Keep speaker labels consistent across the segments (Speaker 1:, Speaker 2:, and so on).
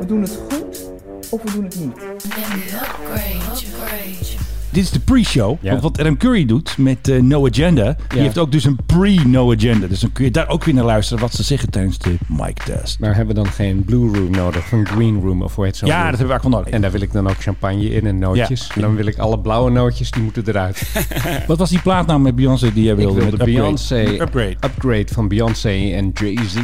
Speaker 1: We doen het goed of we doen het niet.
Speaker 2: Dit is de pre-show.
Speaker 3: Ja.
Speaker 2: Want wat Adam Curry doet met eh, No Agenda. Die
Speaker 3: Ja.
Speaker 2: heeft ook dus een pre-No Agenda. Dus dan kun je daar ook weer naar luisteren wat ze zeggen tijdens de mic test.
Speaker 3: Maar hebben we dan geen blue room nodig, of een green room of hoe heet zo'n
Speaker 2: Ja,
Speaker 3: room?
Speaker 2: dat hebben we eigenlijk wel nodig.
Speaker 3: En daar wil ik dan ook champagne in en nootjes. En dan wil ik alle blauwe nootjes, die moeten eruit.
Speaker 2: Wat was die plaat nou met Beyoncé die jij
Speaker 3: ik
Speaker 2: wilde?
Speaker 3: wil
Speaker 2: met
Speaker 3: de
Speaker 2: Upgrade?
Speaker 3: Beyoncé
Speaker 2: Upgrade.
Speaker 3: upgrade van Beyoncé en Jay-Z.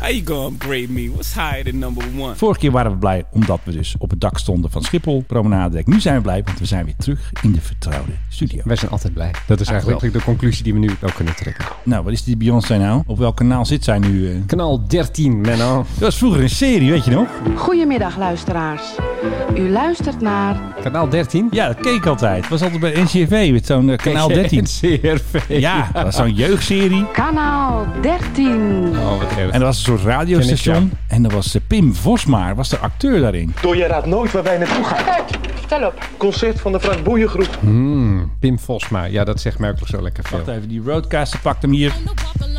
Speaker 4: How you gonna upgrade me? What's higher than number one?
Speaker 2: Eh, Vorige keer waren we blij omdat we dus op het dak stonden van Schiphol, promenadedek. Nu zijn we blij, want we zijn weer terug in de vertrouwde studio.
Speaker 3: Wij zijn altijd blij. Dat is eigenlijk de conclusie die we nu ook kunnen trekken.
Speaker 2: Nou, wat is die Beyoncé nou? Op welk kanaal zit zij nu? eh?
Speaker 3: Kanaal 13, Menno.
Speaker 2: Dat was vroeger een serie, weet je nog?
Speaker 5: Goedemiddag luisteraars. U luistert naar
Speaker 3: Kanaal 13?
Speaker 2: Ja, dat keek ik altijd. Dat was altijd bij NCRV met zo'n eh, kanaal 13.
Speaker 3: CRV.
Speaker 2: Ja, dat was zo'n jeugdserie.
Speaker 5: kanaal 13.
Speaker 3: Oh, wat erg.
Speaker 2: En er was een soort
Speaker 3: Ken
Speaker 2: radiostation.
Speaker 3: ik,
Speaker 2: En er was eh, Pim Vosmaar, was de acteur daarin.
Speaker 6: Door je raadt nooit waar wij naartoe gaan.
Speaker 5: Stel op.
Speaker 6: Concert van de Frank Boeiengroep.
Speaker 3: Pim Vosma. Ja, dat zegt mij ook nog zo lekker veel.
Speaker 2: Wacht even, die roadcaster pakt hem hier.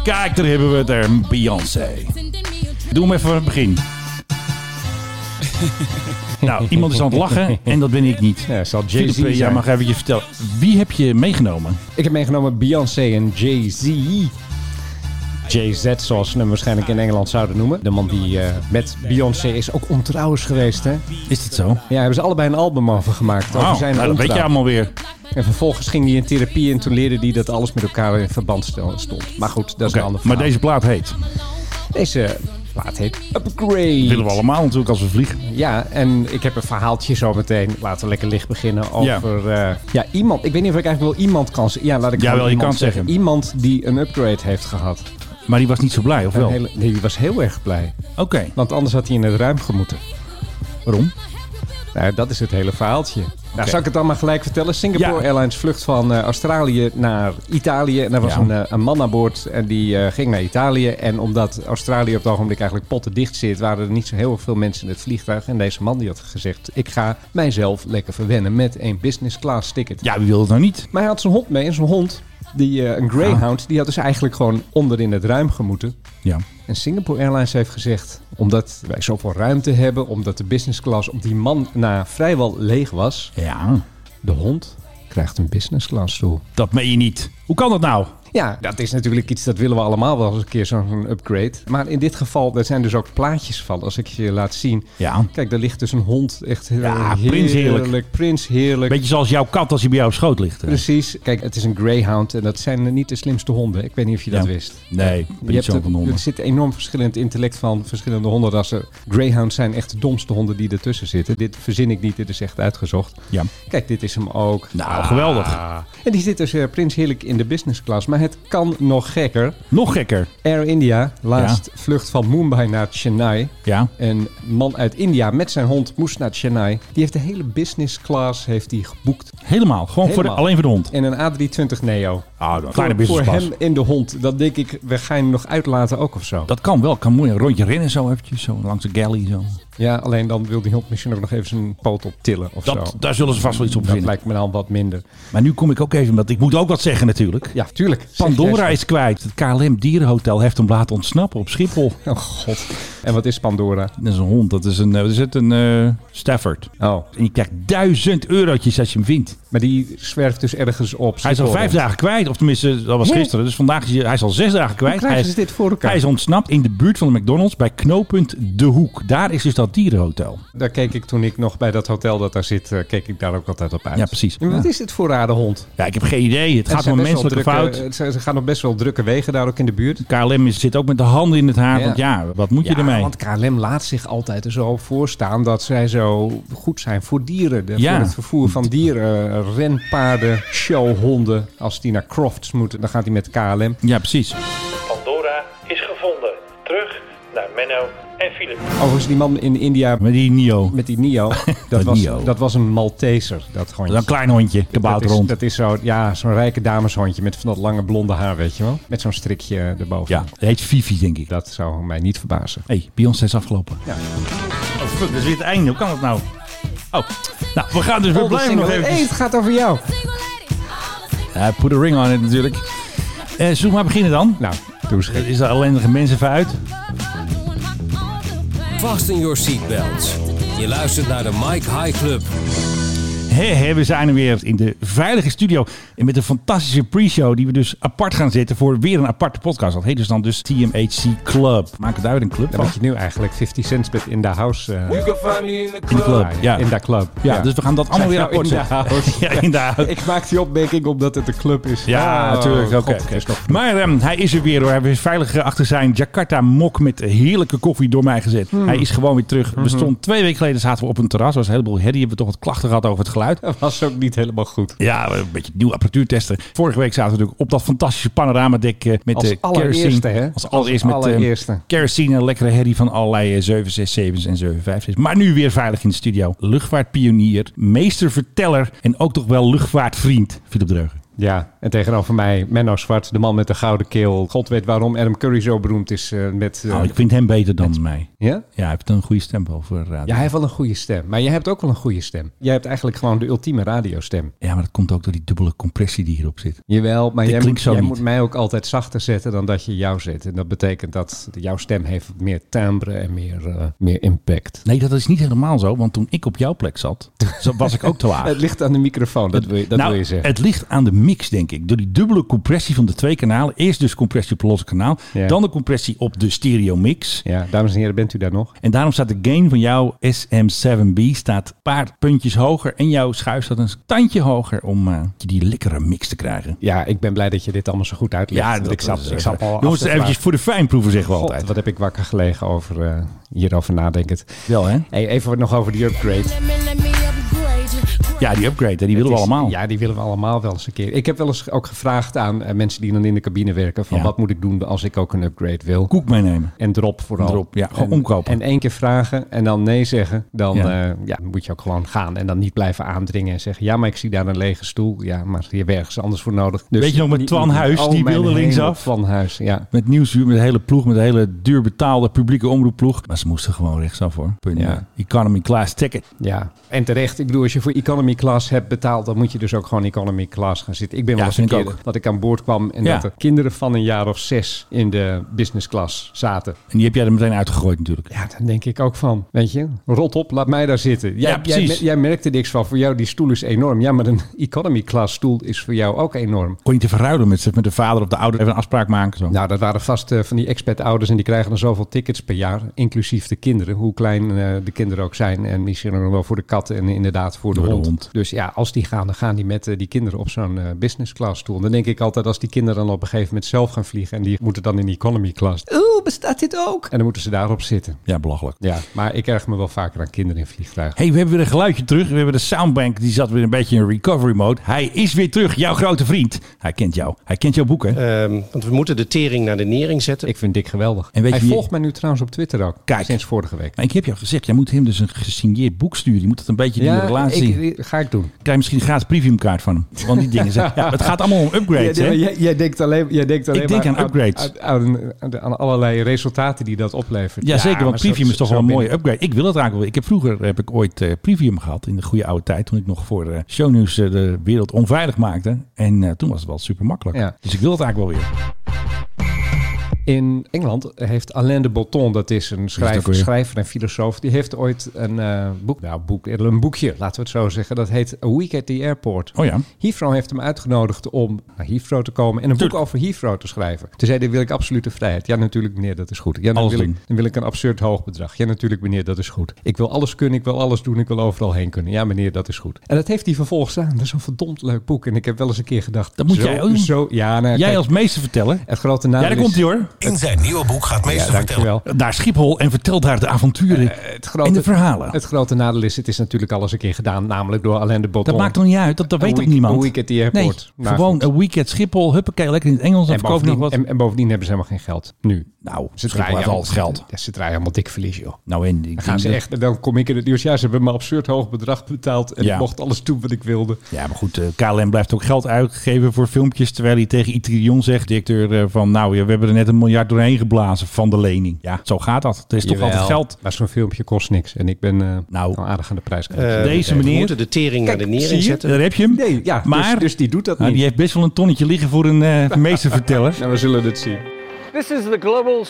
Speaker 2: Kijk, daar hebben we het, eh, Beyoncé. Doe hem even van het begin. nou, iemand is aan het lachen en dat ben ik niet.
Speaker 3: Ja, zal Jay-Z
Speaker 2: Philip, eh, jij
Speaker 3: zijn.
Speaker 2: mag eventjes vertellen. Wie heb je meegenomen?
Speaker 3: Ik heb meegenomen Beyoncé en Jay-Z. Jay-Z, zoals ze hem waarschijnlijk in Engeland zouden noemen. De man die eh, met Beyoncé is ook ontrouwens geweest, hè?
Speaker 2: Is dit zo?
Speaker 3: Ja, hebben ze allebei een album over gemaakt. Over
Speaker 2: Oh,
Speaker 3: zijn
Speaker 2: nou, dat weet
Speaker 3: ontrouw.
Speaker 2: je allemaal weer.
Speaker 3: En vervolgens ging hij in therapie en toen leerde hij dat alles met elkaar in verband stel- stond. Maar goed, dat is een
Speaker 2: Oké,
Speaker 3: ander
Speaker 2: maar
Speaker 3: verhaal.
Speaker 2: deze plaat heet.
Speaker 3: deze plaat heet Upgrade.
Speaker 2: willen we allemaal natuurlijk als we vliegen.
Speaker 3: Ja, en ik heb een verhaaltje zo meteen. Laten we lekker licht beginnen over... Ja, ja iemand. Ik weet niet of ik eigenlijk wel iemand kan zeggen. Ja, laat ik
Speaker 2: Jawel,
Speaker 3: gewoon
Speaker 2: je
Speaker 3: iemand
Speaker 2: kan zeggen.
Speaker 3: Iemand die een upgrade heeft gehad.
Speaker 2: Maar die was niet zo blij, of
Speaker 3: Een
Speaker 2: wel?
Speaker 3: hele- nee, die was heel erg blij.
Speaker 2: Oké,
Speaker 3: Want anders had hij in het ruim gemoeten.
Speaker 2: waarom?
Speaker 3: Nou, dat is het hele verhaaltje. Nou, zal ik het dan maar gelijk vertellen? Singapore
Speaker 2: Ja.
Speaker 3: Airlines vlucht van eh, Australië naar Italië. En er was
Speaker 2: Ja.
Speaker 3: een, eh, een man aan boord en die eh, ging naar Italië. En omdat Australië op het ogenblik eigenlijk potten dicht zit... waren er niet zo heel veel mensen in het vliegtuig. En deze man die had gezegd... ik ga mijzelf lekker verwennen met een business class ticket.
Speaker 2: Ja, wie wil het nou niet?
Speaker 3: Maar hij had zijn hond mee en zijn hond... Die, eh, een greyhound, die had dus eigenlijk gewoon onder in het ruim gemoeten.
Speaker 2: Ja.
Speaker 3: En Singapore Airlines heeft gezegd, omdat wij zoveel ruimte hebben, omdat de business class op die man na vrijwel leeg was,
Speaker 2: Ja,
Speaker 3: de hond krijgt een business class stoel.
Speaker 2: dat meen je niet. Hoe kan dat nou?
Speaker 3: Ja, dat is natuurlijk iets dat willen we allemaal wel eens een keer zo'n upgrade. Maar in dit geval, daar zijn dus ook plaatjes van als ik je laat zien.
Speaker 2: Ja.
Speaker 3: Kijk, daar ligt dus een hond echt heel
Speaker 2: Ja,
Speaker 3: heerlijk,
Speaker 2: prins heerlijk.
Speaker 3: prins heerlijk.
Speaker 2: Beetje zoals jouw kat als hij bij jou op schoot ligt. hè?
Speaker 3: Precies. Kijk, het is een greyhound en dat zijn niet de slimste honden. Ik weet niet of je dat
Speaker 2: Ja.
Speaker 3: wist.
Speaker 2: Nee, ik ben
Speaker 3: Je
Speaker 2: niet
Speaker 3: hebt
Speaker 2: zo
Speaker 3: het-
Speaker 2: van honden.
Speaker 3: Er zit enorm verschillend intellect van verschillende hondenrassen. Greyhounds zijn echt de domste honden die ertussen zitten. Dit verzin ik niet, dit is echt uitgezocht.
Speaker 2: Ja.
Speaker 3: Kijk, dit is hem ook.
Speaker 2: Nou,
Speaker 3: Ah.
Speaker 2: geweldig.
Speaker 3: En die zit dus eh, prins heerlijk in de business class. Maar het kan nog gekker.
Speaker 2: Nog gekker.
Speaker 3: Air India, laatst vlucht van Mumbai naar Chennai.
Speaker 2: Ja.
Speaker 3: Een man uit India met zijn hond moest naar Chennai. Die heeft de hele business class heeft die geboekt.
Speaker 2: Helemaal. Gewoon voor de-
Speaker 3: Helemaal.
Speaker 2: alleen voor de hond.
Speaker 3: In een A320 Neo.
Speaker 2: Ah, dan- kleine
Speaker 3: voor, voor
Speaker 2: business class.
Speaker 3: hem en de hond. Dan denk ik, we gaan hem nog uitlaten ook of zo.
Speaker 2: Dat kan wel. Kan mooi een rondje rennen zo eventjes. Zo langs de galley zo.
Speaker 3: Ja, alleen dan wil die hond misschien ook nog even zijn poot op tillen of zo.
Speaker 2: Dat, daar zullen ze vast wel iets op
Speaker 3: Dat
Speaker 2: vinden.
Speaker 3: lijkt me dan wat minder.
Speaker 2: Maar nu kom ik ook even, want ik moet ook wat zeggen natuurlijk.
Speaker 3: Ja, tuurlijk. Zeg
Speaker 2: Pandora
Speaker 3: jij eens
Speaker 2: is kwijt. Het KLM Dierenhotel heeft hem laten ontsnappen op Schiphol.
Speaker 3: wat. Oh god. En wat is Pandora?
Speaker 2: Dat is een hond. Dat is een, eh, wat is het, een eh, Stafford.
Speaker 3: Oh,
Speaker 2: En je krijgt duizend eurotjes als je hem vindt.
Speaker 3: maar die zwerft dus ergens op.
Speaker 2: Hij is al
Speaker 3: Schiphol
Speaker 2: vijf
Speaker 3: rond.
Speaker 2: dagen kwijt. Of tenminste, dat was
Speaker 3: Hè?
Speaker 2: gisteren. Dus vandaag is hij, hij is al zes dagen kwijt.
Speaker 3: krijgen
Speaker 2: hij
Speaker 3: ze
Speaker 2: is,
Speaker 3: dit voor elkaar?
Speaker 2: Hij is ontsnapt in de buurt van de McDonald's bij knooppunt De Hoek. Daar is dus dat dierenhotel.
Speaker 3: Daar keek ik toen ik nog bij dat hotel dat daar zit, eh, keek ik daar ook altijd op uit.
Speaker 2: Ja, precies.
Speaker 3: Maar wat is dit voor rare hond?
Speaker 2: Ja, ik heb geen idee. Het
Speaker 3: Het
Speaker 2: gaat
Speaker 3: zijn
Speaker 2: om een
Speaker 3: best wel
Speaker 2: menselijke
Speaker 3: drukke-
Speaker 2: fout.
Speaker 3: het zijn- Ze gaan op best wel drukke wegen daar ook in de buurt.
Speaker 2: KLM is- zit ook met de handen in het haar.
Speaker 3: Ja.
Speaker 2: Want ja, wat moet je ermee?
Speaker 3: want KLM laat zich altijd er zo voor staan dat zij zo goed zijn voor dieren. De-
Speaker 2: Ja.
Speaker 3: Voor het vervoer van dieren, eh, renpaarden, showhonden. Als die naar Crofts moeten, dan gaat hij met KLM.
Speaker 2: Ja, precies.
Speaker 6: Pandora is gevonden. Terug naar Menno en Philip.
Speaker 3: Overigens, die man in India
Speaker 2: Met die Nio.
Speaker 3: met die Nio, dat,
Speaker 2: Dat
Speaker 3: was,
Speaker 2: Nio.
Speaker 3: dat was een Malteser, dat
Speaker 2: Dat
Speaker 3: hondje.
Speaker 2: is een klein hondje.
Speaker 3: dat is,
Speaker 2: Kabouterhond.
Speaker 3: dat is zo, ja, zo'n rijke dameshondje met van dat lange blonde haar, weet je wel. Met zo'n strikje erboven.
Speaker 2: Ja, het heet Fifi, denk ik.
Speaker 3: Dat zou mij niet verbazen.
Speaker 2: Hé, hey, Beyoncé is afgelopen.
Speaker 3: Ja.
Speaker 2: Oh, fuck, dat is weer het einde. Hoe kan dat nou? Oh, nou, we gaan
Speaker 3: Oh,
Speaker 2: dus... We blijven nog
Speaker 3: Hey,
Speaker 2: even...
Speaker 3: het gaat over jou.
Speaker 2: put a ring on it natuurlijk. Eh zullen we maar beginnen dan?
Speaker 3: Nou, doe eens gek.
Speaker 2: Is er ellendige mensen voor uit?
Speaker 7: Fasten your seatbelts. Je luistert naar de Mike High Club.
Speaker 2: Hé, hé, we zijn er weer in de veilige studio. En met een fantastische pre-show die we dus apart gaan zetten voor weer een aparte podcast. Dat heet dus dan dus TMHC Club. Maak het uit een club.
Speaker 3: Dan
Speaker 2: van.
Speaker 3: moet je nu eigenlijk 50 cents met in the house. eh,
Speaker 2: In de club.
Speaker 3: draaien.
Speaker 2: Ja.
Speaker 3: In de club.
Speaker 2: Ja, dus we gaan dat allemaal weer
Speaker 3: Nou,
Speaker 2: apart
Speaker 3: in de
Speaker 2: zetten.
Speaker 3: house.
Speaker 2: Ja, in de house.
Speaker 3: Ik maak die opmerking omdat het een club is.
Speaker 2: Ja,
Speaker 3: Oh,
Speaker 2: natuurlijk. Oké.
Speaker 3: God, het is nog-
Speaker 2: Maar ehm, hij is er weer hoor. Hij is veilig achter zijn Jakarta mok met heerlijke koffie door mij gezet. Hij is gewoon weer terug. We stonden twee weken geleden zaten we op een terras. Er was een heleboel herrie. Hebben we toch wat klachten gehad over het geluid.
Speaker 3: Dat was ook niet helemaal goed.
Speaker 2: Ja, we een beetje nieuwe apparatuur testen. Vorige week zaten we natuurlijk op dat fantastische panoramadek eh, met
Speaker 3: Als
Speaker 2: de
Speaker 3: allereerste, hè?
Speaker 2: Als allereerst
Speaker 3: Als
Speaker 2: met eh,
Speaker 3: allereerste.
Speaker 2: kerosine, een lekkere herrie van allerlei eh, 767's en 757's. Maar nu weer veilig in de studio. Luchtvaartpionier, meesterverteller en ook toch wel luchtvaartvriend, Philip Dreugen.
Speaker 3: Ja, en tegenover mij Menno Zwart, de man met de gouden keel. God weet waarom Adam Curry zo beroemd is eh, met... eh,
Speaker 2: Nou, ik vind hem beter dan mij.
Speaker 3: ja?
Speaker 2: Ja, hij heeft een goede stem wel voor radio.
Speaker 3: ja, hij heeft wel een goede stem. Maar jij hebt ook wel een goede stem. Jij hebt eigenlijk gewoon de ultieme radiostem.
Speaker 2: Ja, maar dat komt ook door die dubbele compressie die hierop zit.
Speaker 3: Jawel,
Speaker 2: Dit
Speaker 3: maar jij, moet,
Speaker 2: klinkt zo
Speaker 3: jij
Speaker 2: niet.
Speaker 3: moet mij ook altijd zachter zetten dan dat je jou zet. En dat betekent dat jouw stem heeft meer timbre en meer, eh, meer impact.
Speaker 2: Nee, dat is niet helemaal zo, want toen ik op jouw plek zat, zo was ik ook te laag.
Speaker 3: Het ligt aan de microfoon, dat wil je, dat
Speaker 2: nou,
Speaker 3: wil je zeggen.
Speaker 2: Het ligt aan de mix, denk ik. Door die dubbele compressie van de twee kanalen. Eerst dus compressie op het losse kanaal.
Speaker 3: Ja.
Speaker 2: Dan de compressie op de stereo mix.
Speaker 3: Ja, dames en heren, bent u daar nog?
Speaker 2: En daarom staat de gain van jouw SM7B staat een paar puntjes hoger. En jouw schuif staat een tandje hoger om eh, die lekkere mix te krijgen.
Speaker 3: Ja, ik ben blij dat je dit allemaal zo goed uitlegt. Want ik zat,
Speaker 2: is-
Speaker 3: ik zat al af
Speaker 2: Jongens,
Speaker 3: te
Speaker 2: eventjes voor de fijnproever zeggen we
Speaker 3: eh, God,
Speaker 2: altijd.
Speaker 3: wat heb ik wakker gelegen over eh, hierover nadenkend.
Speaker 2: Wel, hè?
Speaker 3: Hey, even wat nog over die upgrade.
Speaker 2: Ja, die upgrade, hè, die
Speaker 3: Het
Speaker 2: willen we
Speaker 3: is-
Speaker 2: allemaal.
Speaker 3: Ja, die willen we allemaal wel eens een keer. Ik heb wel eens ook gevraagd aan eh, mensen die dan in de cabine werken... van
Speaker 2: Ja.
Speaker 3: wat moet ik doen als ik ook een upgrade wil?
Speaker 2: Koek meenemen.
Speaker 3: En drop vooral.
Speaker 2: Drop, ja, gewoon
Speaker 3: En-
Speaker 2: omkopen.
Speaker 3: En één keer vragen en dan nee zeggen. Dan
Speaker 2: Ja.
Speaker 3: ja. ja, dan moet je ook gewoon gaan. En dan niet blijven aandringen en zeggen... ja, maar ik zie daar een lege stoel. Ja, maar je hebt ergens anders voor nodig. Dus
Speaker 2: Weet je nog met
Speaker 3: niet-
Speaker 2: Twan
Speaker 3: niet-
Speaker 2: Huis?
Speaker 3: Oh,
Speaker 2: Die
Speaker 3: mijn
Speaker 2: wilde
Speaker 3: hemel,
Speaker 2: linksaf.
Speaker 3: Twan Huis, ja.
Speaker 2: Met nieuwsuur, met de hele ploeg, met de hele duur betaalde publieke omroepploeg. Maar ze moesten gewoon rechtsaf hoor. Punt.
Speaker 3: Ja.
Speaker 2: Economy class ticket.
Speaker 3: Ja, en terecht. Ik bedoel, als je voor economy class hebt betaald, dan moet je dus ook gewoon economy class gaan zitten. Ik ben wel eens een
Speaker 2: vind ik
Speaker 3: keer dat ik aan boord kwam en
Speaker 2: Ja.
Speaker 3: dat er kinderen van een jaar of zes in de business class zaten.
Speaker 2: En die heb jij er meteen uitgegooid natuurlijk.
Speaker 3: Ja, dan denk ik ook van, weet je, rot op, laat mij daar zitten. Jij,
Speaker 2: Ja, precies.
Speaker 3: Jij, jij merkte niks van, voor jou die stoel is enorm. Ja, maar een economy class stoel is voor jou ook enorm.
Speaker 2: Kon je te verruilen met, met de vader of de ouder? Even een afspraak maken zo.
Speaker 3: Nou, dat waren vast eh, van die expat-ouders en die krijgen dan zoveel tickets per jaar, inclusief de kinderen, hoe klein eh, de kinderen ook zijn. En misschien nog wel voor de kat en inderdaad voor de,
Speaker 2: Voor de
Speaker 3: hond.
Speaker 2: hond.
Speaker 3: Dus ja, als die gaan, dan gaan die met eh, die kinderen op zo'n eh, business class stoel. Dan denk ik altijd, als die kinderen dan op een gegeven moment zelf gaan vliegen en die moeten dan in die economy class. Oeh, bestaat dit ook? En dan moeten ze daarop zitten.
Speaker 2: Ja, belachelijk.
Speaker 3: Ja, maar ik erg me wel vaker aan kinderen in vliegtuigen.
Speaker 2: hey, we hebben weer een geluidje terug. We hebben de soundbank, die zat weer een beetje in recovery mode. Hij is weer terug, jouw grote vriend. Hij kent jou. Hij kent jouw boeken.
Speaker 3: Eh.
Speaker 8: Ehm, want we moeten de tering naar de nering zetten.
Speaker 3: Ik vind Dick geweldig.
Speaker 2: En weet
Speaker 3: Hij
Speaker 2: je wie-
Speaker 3: volgt mij nu trouwens op Twitter ook.
Speaker 2: Kijk.
Speaker 3: Sinds vorige week.
Speaker 2: Maar ik heb jou gezegd, jij moet hem dus een gesigneerd boek sturen. Je moet het een beetje in de relatie zien.
Speaker 3: ik, ga ik doen.
Speaker 2: Krijg je misschien een gratis premiumkaart van hem. Want die dingen zijn... Ja, het gaat allemaal om upgrades,
Speaker 3: Ja,
Speaker 2: hè?
Speaker 3: maar jij, jij denkt alleen, jij denkt alleen
Speaker 2: Ik denk
Speaker 3: maar
Speaker 2: aan upgrades.
Speaker 3: Aan, aan- aan allerlei resultaten die dat oplevert.
Speaker 2: Ja, zeker, want
Speaker 3: maar zo-
Speaker 2: Premium is toch
Speaker 3: zo
Speaker 2: wel een
Speaker 3: ben
Speaker 2: mooie
Speaker 3: ik.
Speaker 2: upgrade. Ik wil het eigenlijk wel. Ik heb vroeger heb ik ooit eh Premium gehad in de goede oude tijd. Toen ik nog voor eh, shownieuws eh, de wereld onveilig maakte. En eh, toen was het wel super makkelijk.
Speaker 3: Ja.
Speaker 2: Dus ik wil het eigenlijk wel weer.
Speaker 3: In Engeland heeft Alain de Botton, dat is een
Speaker 2: ook
Speaker 3: schrijver,
Speaker 2: weer?
Speaker 3: schrijver en filosoof, die heeft ooit een eh, boek, nou, boek, een boekje, laten we het zo zeggen, dat heet A Week at the Airport.
Speaker 2: Oh ja.
Speaker 3: Heathrow heeft hem uitgenodigd om naar Heathrow te komen en een boek over Heathrow te schrijven. Toen zei hij, wil ik absolute vrijheid. Ja, natuurlijk meneer, dat is goed. Ja, dan
Speaker 2: Alles
Speaker 3: wil, ik,
Speaker 2: doen.
Speaker 3: dan wil ik een absurd hoog bedrag. Ja, natuurlijk meneer, dat is goed. Ik wil alles kunnen, ik wil alles doen, ik wil overal heen kunnen. Ja, meneer, dat is goed. En dat heeft hij vervolgens aan. Dat is een verdomd leuk boek. En ik heb wel eens een keer gedacht,
Speaker 2: Dat moet
Speaker 3: zo,
Speaker 2: jij ook doen.
Speaker 3: Zo, ja, nou,
Speaker 2: Jij
Speaker 3: kijk,
Speaker 2: als meester vertellen.
Speaker 3: het grote naam
Speaker 2: Ja, daar
Speaker 3: is-
Speaker 2: komt hij hoor.
Speaker 7: In zijn nieuwe boek gaat
Speaker 3: Ja,
Speaker 7: meester vertellen.
Speaker 3: dankjewel. Eh,
Speaker 2: Naar Schiphol en vertel daar de avonturen
Speaker 3: Het grote,
Speaker 2: en de verhalen.
Speaker 3: Het grote nadeel is, het is natuurlijk al eens een keer gedaan, namelijk door Alain de Botton.
Speaker 2: dat maakt toch niet uit, dat, dat
Speaker 3: Een
Speaker 2: weet toch
Speaker 3: week-
Speaker 2: niemand?
Speaker 3: een week at the airport.
Speaker 2: Nee,
Speaker 3: Maar
Speaker 2: gewoon
Speaker 3: goed.
Speaker 2: een weekend Schiphol, huppakee, lekker in het Engels. Dan
Speaker 3: en
Speaker 2: verkoop je nog
Speaker 3: bovendien,
Speaker 2: wat.
Speaker 3: en, en bovendien hebben ze helemaal geen geld. Nu.
Speaker 2: nou,
Speaker 3: Ze
Speaker 2: Schiphol
Speaker 3: draaien
Speaker 2: heeft al het
Speaker 3: allemaal-
Speaker 2: geld.
Speaker 3: Ja, ze draaien allemaal dik verlies, joh.
Speaker 2: Nou, en ik
Speaker 3: Dan gaan
Speaker 2: denk
Speaker 3: ze
Speaker 2: dat-
Speaker 3: echt, en dan kom ik in het nieuws. Ja, ze hebben me absurd hoog bedrag betaald en
Speaker 2: Ja.
Speaker 3: ik mocht alles doen wat ik wilde.
Speaker 2: Ja, maar goed, eh, KLM blijft ook geld uitgeven voor filmpjes. Terwijl hij tegen Itrion zegt, directeur, eh, van nou, ja, we hebben er net een miljard doorheen geblazen van de lening. Ja, zo gaat dat. Het is toch altijd geld.
Speaker 3: Maar zo'n filmpje kost niks en ik ben eh,
Speaker 2: Nou.
Speaker 3: wel aardig aan de prijs.
Speaker 8: Eh,
Speaker 2: Deze
Speaker 8: we
Speaker 2: meneer-
Speaker 8: moeten de tering naar de
Speaker 3: zie
Speaker 8: nering
Speaker 3: je?
Speaker 8: zetten.
Speaker 2: Daar heb je hem.
Speaker 3: Nee, ja, dus- dus die doet dat
Speaker 2: Nou,
Speaker 3: niet.
Speaker 2: Die heeft best wel een tonnetje liggen voor een eh meesterverteller.
Speaker 3: Nou, we zullen het zien.
Speaker 9: This is the Global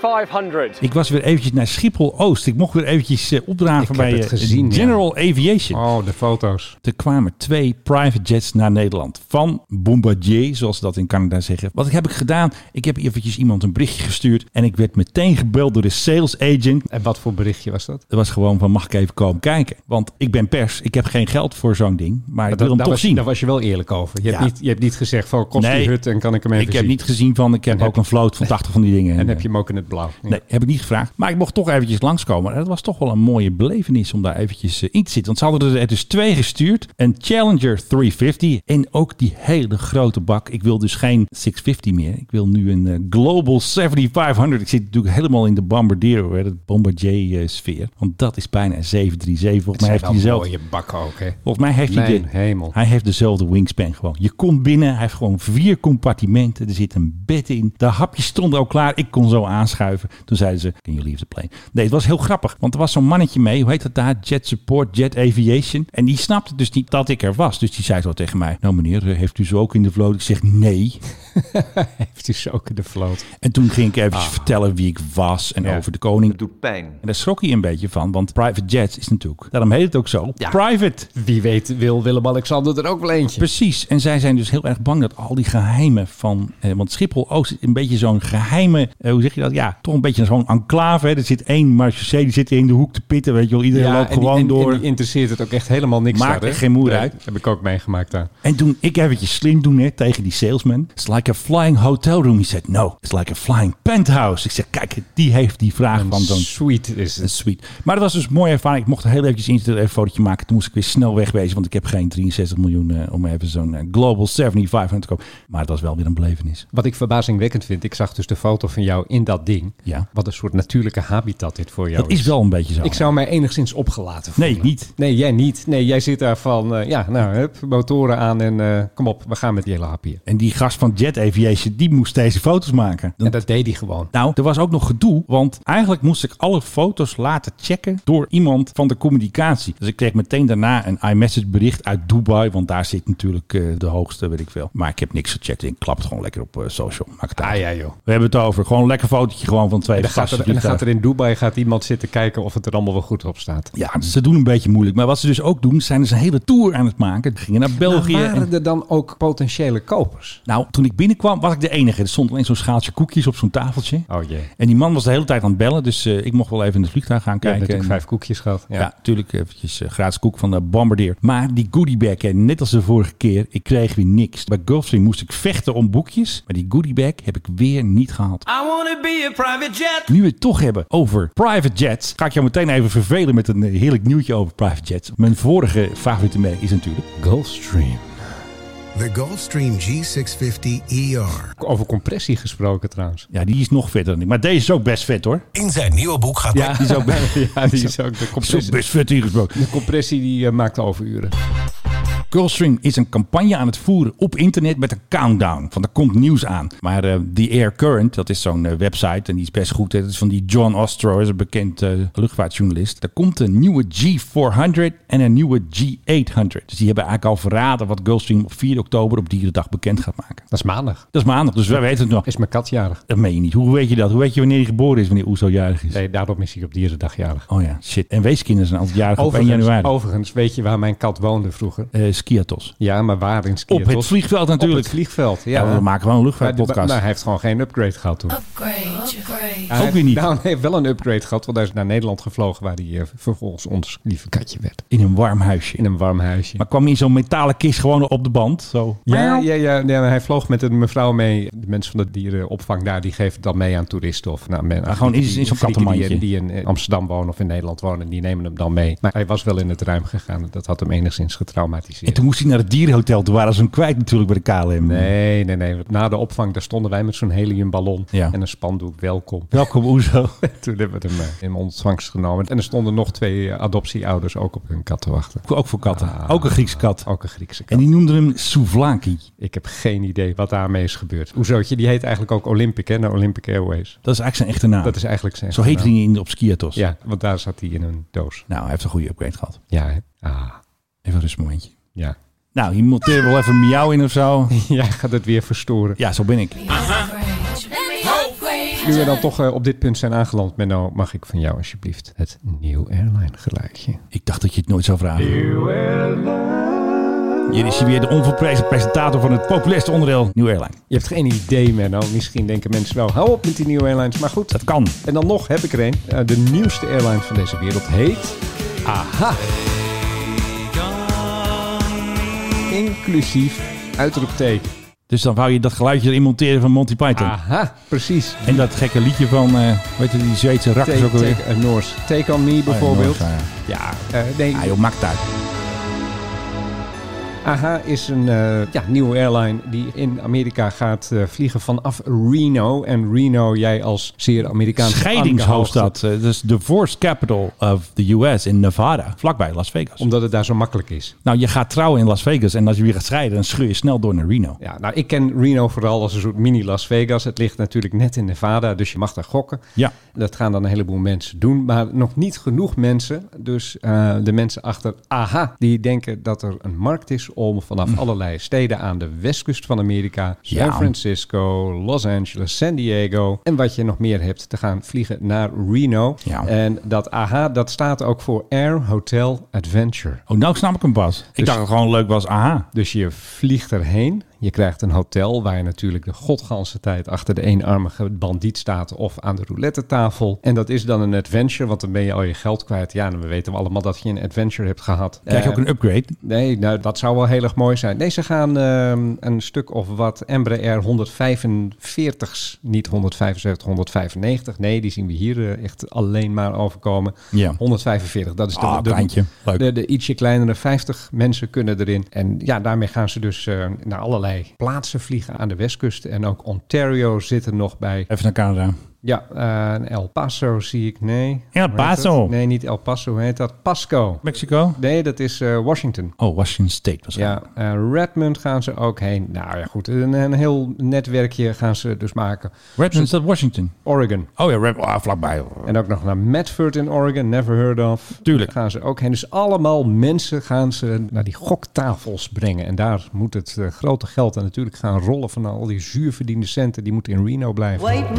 Speaker 9: 7500.
Speaker 2: Ik was weer eventjes naar Schiphol-Oost. Ik mocht weer eventjes eh, opdragen
Speaker 3: Ik heb
Speaker 2: bij
Speaker 3: het
Speaker 2: eh,
Speaker 3: gezien, ja.
Speaker 2: General Aviation.
Speaker 3: Oh, de foto's.
Speaker 2: Er kwamen twee private jets naar Nederland. Van Bombardier, zoals ze dat in Canada zeggen. Wat heb ik gedaan? Ik heb eventjes iemand een berichtje gestuurd. En ik werd meteen gebeld door de sales agent.
Speaker 3: En wat voor berichtje was dat?
Speaker 2: Dat was gewoon van, mag ik even komen kijken? Want ik ben pers. Ik heb geen geld voor zo'n ding. Maar ik
Speaker 3: dat,
Speaker 2: wil hem
Speaker 3: daar
Speaker 2: toch
Speaker 3: was,
Speaker 2: zien.
Speaker 3: Daar was je wel eerlijk over. Je,
Speaker 2: Ja.
Speaker 3: hebt, niet, je hebt niet gezegd van "Oh, kost
Speaker 2: Nee.
Speaker 3: die hut en kan ik hem even
Speaker 2: ik heb
Speaker 3: zien.
Speaker 2: niet gezien van, ik heb
Speaker 3: heb
Speaker 2: ook een vloot van 80 van die dingen. eh,
Speaker 3: En heb je hem ook in het blauw. Ja.
Speaker 2: Nee, heb ik niet gevraagd. Maar ik mocht toch eventjes langskomen. En dat was toch wel een mooie belevenis om daar eventjes eh, in te zitten. Want ze hadden er dus twee gestuurd. Een Challenger 350 en ook die hele grote bak. Ik wil dus geen 650 meer. Ik wil nu een eh, Global 7500. Ik zit natuurlijk helemaal in de Bombardier, hè, de Bombardier-sfeer. Want dat is bijna een 737. Volgens mij heeft hij zelf...
Speaker 3: je bakken ook, hè?
Speaker 2: Volgens mij heeft hij,
Speaker 3: Mijn
Speaker 2: de,
Speaker 3: hemel.
Speaker 2: hij heeft dezelfde wingspan gewoon. Je komt binnen, hij heeft gewoon vier compartimenten. Er zit een bed in. De hapjes stonden al klaar. Ik kon zo aanschuiven. Toen zeiden ze, can you leave the plane? Nee, het was heel grappig. Want er was zo'n mannetje mee. Hoe heet dat daar? Jet Support, Jet Aviation. En die snapte dus niet dat ik er was. Dus die zei zo tegen mij. Nou meneer, heeft u ze ook in de vloot? Ik zeg, nee.
Speaker 3: Heeft hij zo ook in de vloot.
Speaker 2: En toen ging ik eventjes vertellen wie ik was en
Speaker 3: Ah. Ja.
Speaker 2: over de koning.
Speaker 10: doet pijn.
Speaker 2: En daar schrok hij een beetje van. Want private jets is natuurlijk, daarom heet het ook zo, private.
Speaker 3: Wie weet wil Willem-Alexander er ook wel eentje.
Speaker 2: Precies. En zij zijn dus heel erg bang dat al die geheimen van... Eh, want Schiphol-Oost is een beetje zo'n geheime... eh, hoe zeg je dat? Ja, toch een beetje zo'n enclave. Hè. Er zit één marchecé, die zit in de hoek te pitten. Weet je wel, iedereen loopt
Speaker 3: en die-
Speaker 2: gewoon
Speaker 3: en-
Speaker 2: door.
Speaker 3: En die interesseert het ook echt helemaal niks.
Speaker 2: Maakt
Speaker 3: daar, hè?
Speaker 2: echt geen moer uit.
Speaker 3: Heb ik ook meegemaakt daar.
Speaker 2: En toen ik eventjes slim doen hè, tegen die salesman. It's like a flying hotel room. He said, no, it's like a flying penthouse. Ik zeg, kijk, die heeft die vraag van zo'n
Speaker 3: Sweet is het.
Speaker 2: Sweet. Maar dat was dus een mooie ervaring. Ik mocht er heel eventjes in zitten, even een fotootje maken. Toen moest ik weer snel wegwezen, want ik heb geen 63 miljoen eh, om even zo'n eh, Global 7500 te kopen. Maar het was wel weer een belevenis.
Speaker 3: Wat ik verbazingwekkend vind, ik zag dus de foto van jou in dat ding.
Speaker 2: Ja.
Speaker 3: Wat een soort natuurlijke habitat dit voor jou
Speaker 2: Dat is wel een beetje zo.
Speaker 3: Ik zou mij enigszins opgelaten voelen.
Speaker 2: Nee, niet.
Speaker 3: Nee, jij niet. Nee, jij zit daar van, eh, ja, nou, hup, motoren aan en eh, kom op, we gaan met die hele hap hier.
Speaker 2: En die gast van Jet Aviation, die moest deze foto's maken.
Speaker 3: En dat deed hij gewoon.
Speaker 2: Nou, er was ook nog gedoe, want eigenlijk moest ik alle foto's laten checken door iemand van de communicatie. Dus ik kreeg meteen daarna een iMessage bericht uit Dubai, want daar zit natuurlijk eh, de hoogste, weet ik veel. Maar ik heb niks gecheckt en ik klap het gewoon lekker op eh, social. Maakt het
Speaker 3: Ah
Speaker 2: uit.
Speaker 3: ja, joh.
Speaker 2: We hebben het over. Gewoon een lekker fotootje gewoon van twee
Speaker 3: En dan, gaat
Speaker 2: gasten.
Speaker 3: er, en dan gaat er in Dubai gaat iemand zitten kijken of het er allemaal wel goed op staat.
Speaker 2: Ja, ze doen een beetje moeilijk. Maar wat ze dus ook doen, zijn dus een hele tour aan het maken. Ze gingen naar België.
Speaker 3: Maar
Speaker 2: en-
Speaker 3: Nou, waren er dan ook potentiële kopers?
Speaker 2: nou, toen ik binnenkwam, was ik de enige. Er stond alleen zo'n schaaltje koekjes op zo'n tafeltje.
Speaker 3: Oh jee.
Speaker 2: En die man was de hele tijd aan het bellen. Dus eh, ik mocht wel even in het vliegtuig gaan
Speaker 3: Kijk,
Speaker 2: kijken.
Speaker 3: natuurlijk
Speaker 2: En-
Speaker 3: vijf koekjes gehad.
Speaker 2: Ja, natuurlijk eventjes eh, gratis koek van de Bombardier. Maar die goodiebag, hè, net als de vorige keer, ik kreeg weer niks. Bij Gulfstream moest ik vechten om boekjes, maar die goodiebag heb ik weer niet
Speaker 3: Ah.
Speaker 2: gehaald.
Speaker 4: I wanna be a private jet.
Speaker 2: Nu we het toch hebben over private jets, ga ik jou meteen even vervelen met een eh, heerlijk nieuwtje over private jets. Mijn vorige favoriete merk is natuurlijk Gulfstream.
Speaker 9: The Gulfstream G650ER.
Speaker 3: Over compressie gesproken trouwens.
Speaker 2: Ja, die is nog vetter dan ik. Maar deze is ook best vet hoor.
Speaker 7: In zijn nieuwe boek gaat
Speaker 3: Ja, Oh, die is ook, ja, die is ook de
Speaker 2: Zo
Speaker 3: compressie.
Speaker 2: best vet ingesproken.
Speaker 3: De compressie die eh, maakt overuren.
Speaker 2: Gulfstream is een campagne aan het voeren op internet met een countdown. Van er komt nieuws aan. Maar eh The Air Current, dat is zo'n eh, website en die is best goed. hè. Dat is van die John Ostro, is een bekend eh, luchtvaartjournalist. Er komt een nieuwe G400 en een nieuwe G800. Dus die hebben eigenlijk al verraden wat Gulfstream op 4 oktober op Dierendag bekend gaat maken.
Speaker 3: Dat is maandag.
Speaker 2: Dat is maandag, dus wij weten het nog.
Speaker 3: Is mijn kat jarig.
Speaker 2: Dat meen je niet. Hoe weet je dat? Hoe weet je wanneer hij geboren is, wanneer Oezo jarig is?
Speaker 3: Nee, daarom is hij op dierendag jarig.
Speaker 2: Oh ja, shit. En weeskinderen zijn altijd jarig op 1
Speaker 3: Overigens,
Speaker 2: januari.
Speaker 3: overigens, weet je waar mijn kat woonde vroeger?
Speaker 2: Eh, Skiatos.
Speaker 3: Ja, maar waar in
Speaker 2: Op
Speaker 3: Skiatos?
Speaker 2: het vliegveld natuurlijk.
Speaker 3: Op het vliegveld, ja.
Speaker 2: Ja, we maken wel een
Speaker 3: Maar, die-
Speaker 2: luchtvaartpodcast.
Speaker 3: maar Nou, hij heeft gewoon geen upgrade gehad toen. Hij
Speaker 2: Ook
Speaker 3: heeft-
Speaker 2: weer niet.
Speaker 3: Nou, hij heeft wel een upgrade gehad, want hij is naar Nederland gevlogen... waar hij eh, vervolgens ons lieve katje werd.
Speaker 2: In een warm huisje.
Speaker 3: In een warm huisje.
Speaker 2: Maar kwam in zo'n metalen kist gewoon op de band. Zo.
Speaker 3: Ja, ja, ja, ja, hij vloog met een mevrouw mee. De mensen van de dierenopvang daar, die geven het dan mee aan toeristen. Of nou, men,
Speaker 2: gewoon in-
Speaker 3: die-
Speaker 2: in zo'n
Speaker 3: Grieken die-
Speaker 2: kattenmandje.
Speaker 3: Die, in eh, Amsterdam wonen of in Nederland wonen, die nemen hem dan mee. Maar hij was wel in het ruim gegaan. Dat had hem enigszins
Speaker 2: En
Speaker 3: getraumatiseerd.
Speaker 2: toen moest hij naar het dierenhotel. Toen waren ze hem kwijt natuurlijk bij de KLM.
Speaker 3: Nee, nee, nee. Na de opvang, daar stonden wij met zo'n heliumballon
Speaker 2: Ja.
Speaker 3: en een spandoek. Welkom.
Speaker 2: Welkom Oezo.
Speaker 3: Toen hebben we hem eh, in ontvangst genomen. En er stonden nog twee eh, adoptieouders ook op hun kat te wachten.
Speaker 2: Ook voor katten.
Speaker 3: Ah.
Speaker 2: Ook een Griekse kat.
Speaker 3: Ook een Griekse
Speaker 2: En
Speaker 3: kat.
Speaker 2: die noemden hem Souvlaki.
Speaker 3: Ik heb geen idee wat daarmee is gebeurd. Hoezootje, die heet eigenlijk ook Olympic, hè? De Olympic Airways.
Speaker 2: Dat is eigenlijk zijn echte naam.
Speaker 3: Dat is eigenlijk zijn.
Speaker 2: zo heette
Speaker 3: naam.
Speaker 2: hij in, op Skiatos.
Speaker 3: Ja, want daar zat hij in een doos.
Speaker 2: Nou, hij heeft een goede upgrade gehad.
Speaker 3: Ja, hè? Ah,
Speaker 2: Even een rustig momentje.
Speaker 3: ja.
Speaker 2: Nou, je moet er wel even miauw in of zo.
Speaker 3: Jij gaat het weer verstoren.
Speaker 2: Ja, zo ben ik.
Speaker 9: Upgrade.
Speaker 3: Nu we dan toch eh, op dit punt zijn aangeland, Menno, mag ik van jou alsjeblieft het nieuw airline geluidje.
Speaker 2: Ik dacht dat je het nooit zou vragen. Hier is hij weer de onverprezen presentator van het populairste onderdeel New Airline.
Speaker 3: Je hebt geen idee, Menno. Misschien denken mensen wel, hou op met die nieuwe airlines. Maar goed,
Speaker 2: Dat kan.
Speaker 3: en dan nog heb ik er een. Eh, de nieuwste airline van deze wereld heet... AHA. Inclusief uitroepteken.
Speaker 2: Dus dan wou je dat geluidje erin monteren van Monty Python.
Speaker 3: AHA, precies.
Speaker 2: En dat gekke liedje van, eh weet je, die Zweedse rakkers
Speaker 3: Take,
Speaker 2: ook alweer. Oh
Speaker 3: take a Noors. Take on me bijvoorbeeld.
Speaker 2: Noors,
Speaker 3: ja, eh, nee,
Speaker 2: Ah joh, maakt het uit.
Speaker 3: AHA is een eh, ja, nieuwe airline die in Amerika gaat eh, vliegen vanaf Reno. En Reno, jij als zeer Amerikaanse
Speaker 2: Scheidingshoofdstad. eh, dus the force capital of the US in Nevada. Vlakbij Las Vegas.
Speaker 3: eh, Omdat het daar zo makkelijk is.
Speaker 2: Nou, je gaat trouwen in Las Vegas. En als je weer gaat scheiden, dan scheur je snel door naar Reno.
Speaker 3: Ja, nou, ik ken Reno vooral als een soort mini Las Vegas. Het ligt natuurlijk net in Nevada, dus je mag daar gokken.
Speaker 2: Ja.
Speaker 3: Dat gaan dan een heleboel mensen doen, maar nog niet genoeg mensen. Dus eh, de mensen achter AHA, die denken dat er een markt is om vanaf allerlei steden aan de westkust van Amerika, San
Speaker 2: Mm. Ja.
Speaker 3: Francisco, Los Angeles, San Diego en wat je nog meer hebt, te gaan vliegen naar Reno.
Speaker 2: Ja.
Speaker 3: En dat AHA, dat staat ook voor Air Hotel Adventure.
Speaker 2: Oh, nou snap ik hem pas. Ik
Speaker 3: Dus-
Speaker 2: dacht dat het gewoon leuk was. Aha.
Speaker 3: Dus je vliegt erheen. Je krijgt een hotel waar je natuurlijk de godganse tijd achter de eenarmige bandiet staat of aan de roulette tafel. En dat is dan een adventure, want dan ben je al je geld kwijt. Ja, en we weten allemaal dat je een adventure hebt gehad.
Speaker 2: Krijg je ook
Speaker 3: Eh,
Speaker 2: een upgrade?
Speaker 3: Nee, nou, dat zou wel heel erg mooi zijn. Nee, ze gaan ehm, een stuk of wat Embraer 145's, niet 175, 195. Nee, die zien we hier eh, echt alleen maar overkomen.
Speaker 2: Ja.
Speaker 3: 145, dat is de,
Speaker 2: Ah,
Speaker 3: de-
Speaker 2: kleintje. Leuk.
Speaker 3: de, de ietsje kleinere 50 mensen kunnen erin. En ja, daarmee gaan ze dus eh, naar allerlei plaatsen vliegen aan de westkust. En ook Ontario zit er nog bij.
Speaker 2: Even naar Canada.
Speaker 3: Ja, eh, El Paso zie ik. Nee.
Speaker 2: El
Speaker 3: Hoe heet
Speaker 2: Paso.
Speaker 3: dat? Nee, niet El Paso. Hoe heet dat? Pasco.
Speaker 2: Mexico?
Speaker 3: Nee, dat is eh, Washington.
Speaker 2: Oh, Washington State waarschijnlijk.
Speaker 3: Ja, eh, Redmond gaan ze ook heen. Nou ja, goed. Een, een heel netwerkje gaan ze dus maken.
Speaker 2: Redmond is dat Washington?
Speaker 3: Oregon.
Speaker 2: Oh ja, Red, ah, vlakbij.
Speaker 3: En ook nog naar Medford in Oregon, never heard of.
Speaker 2: Tuurlijk.
Speaker 3: Gaan ze ook heen. Dus allemaal mensen gaan ze naar die goktafels brengen. En daar moet het eh, grote geld en natuurlijk gaan rollen van al die zuurverdiende centen. Die moeten in Reno blijven.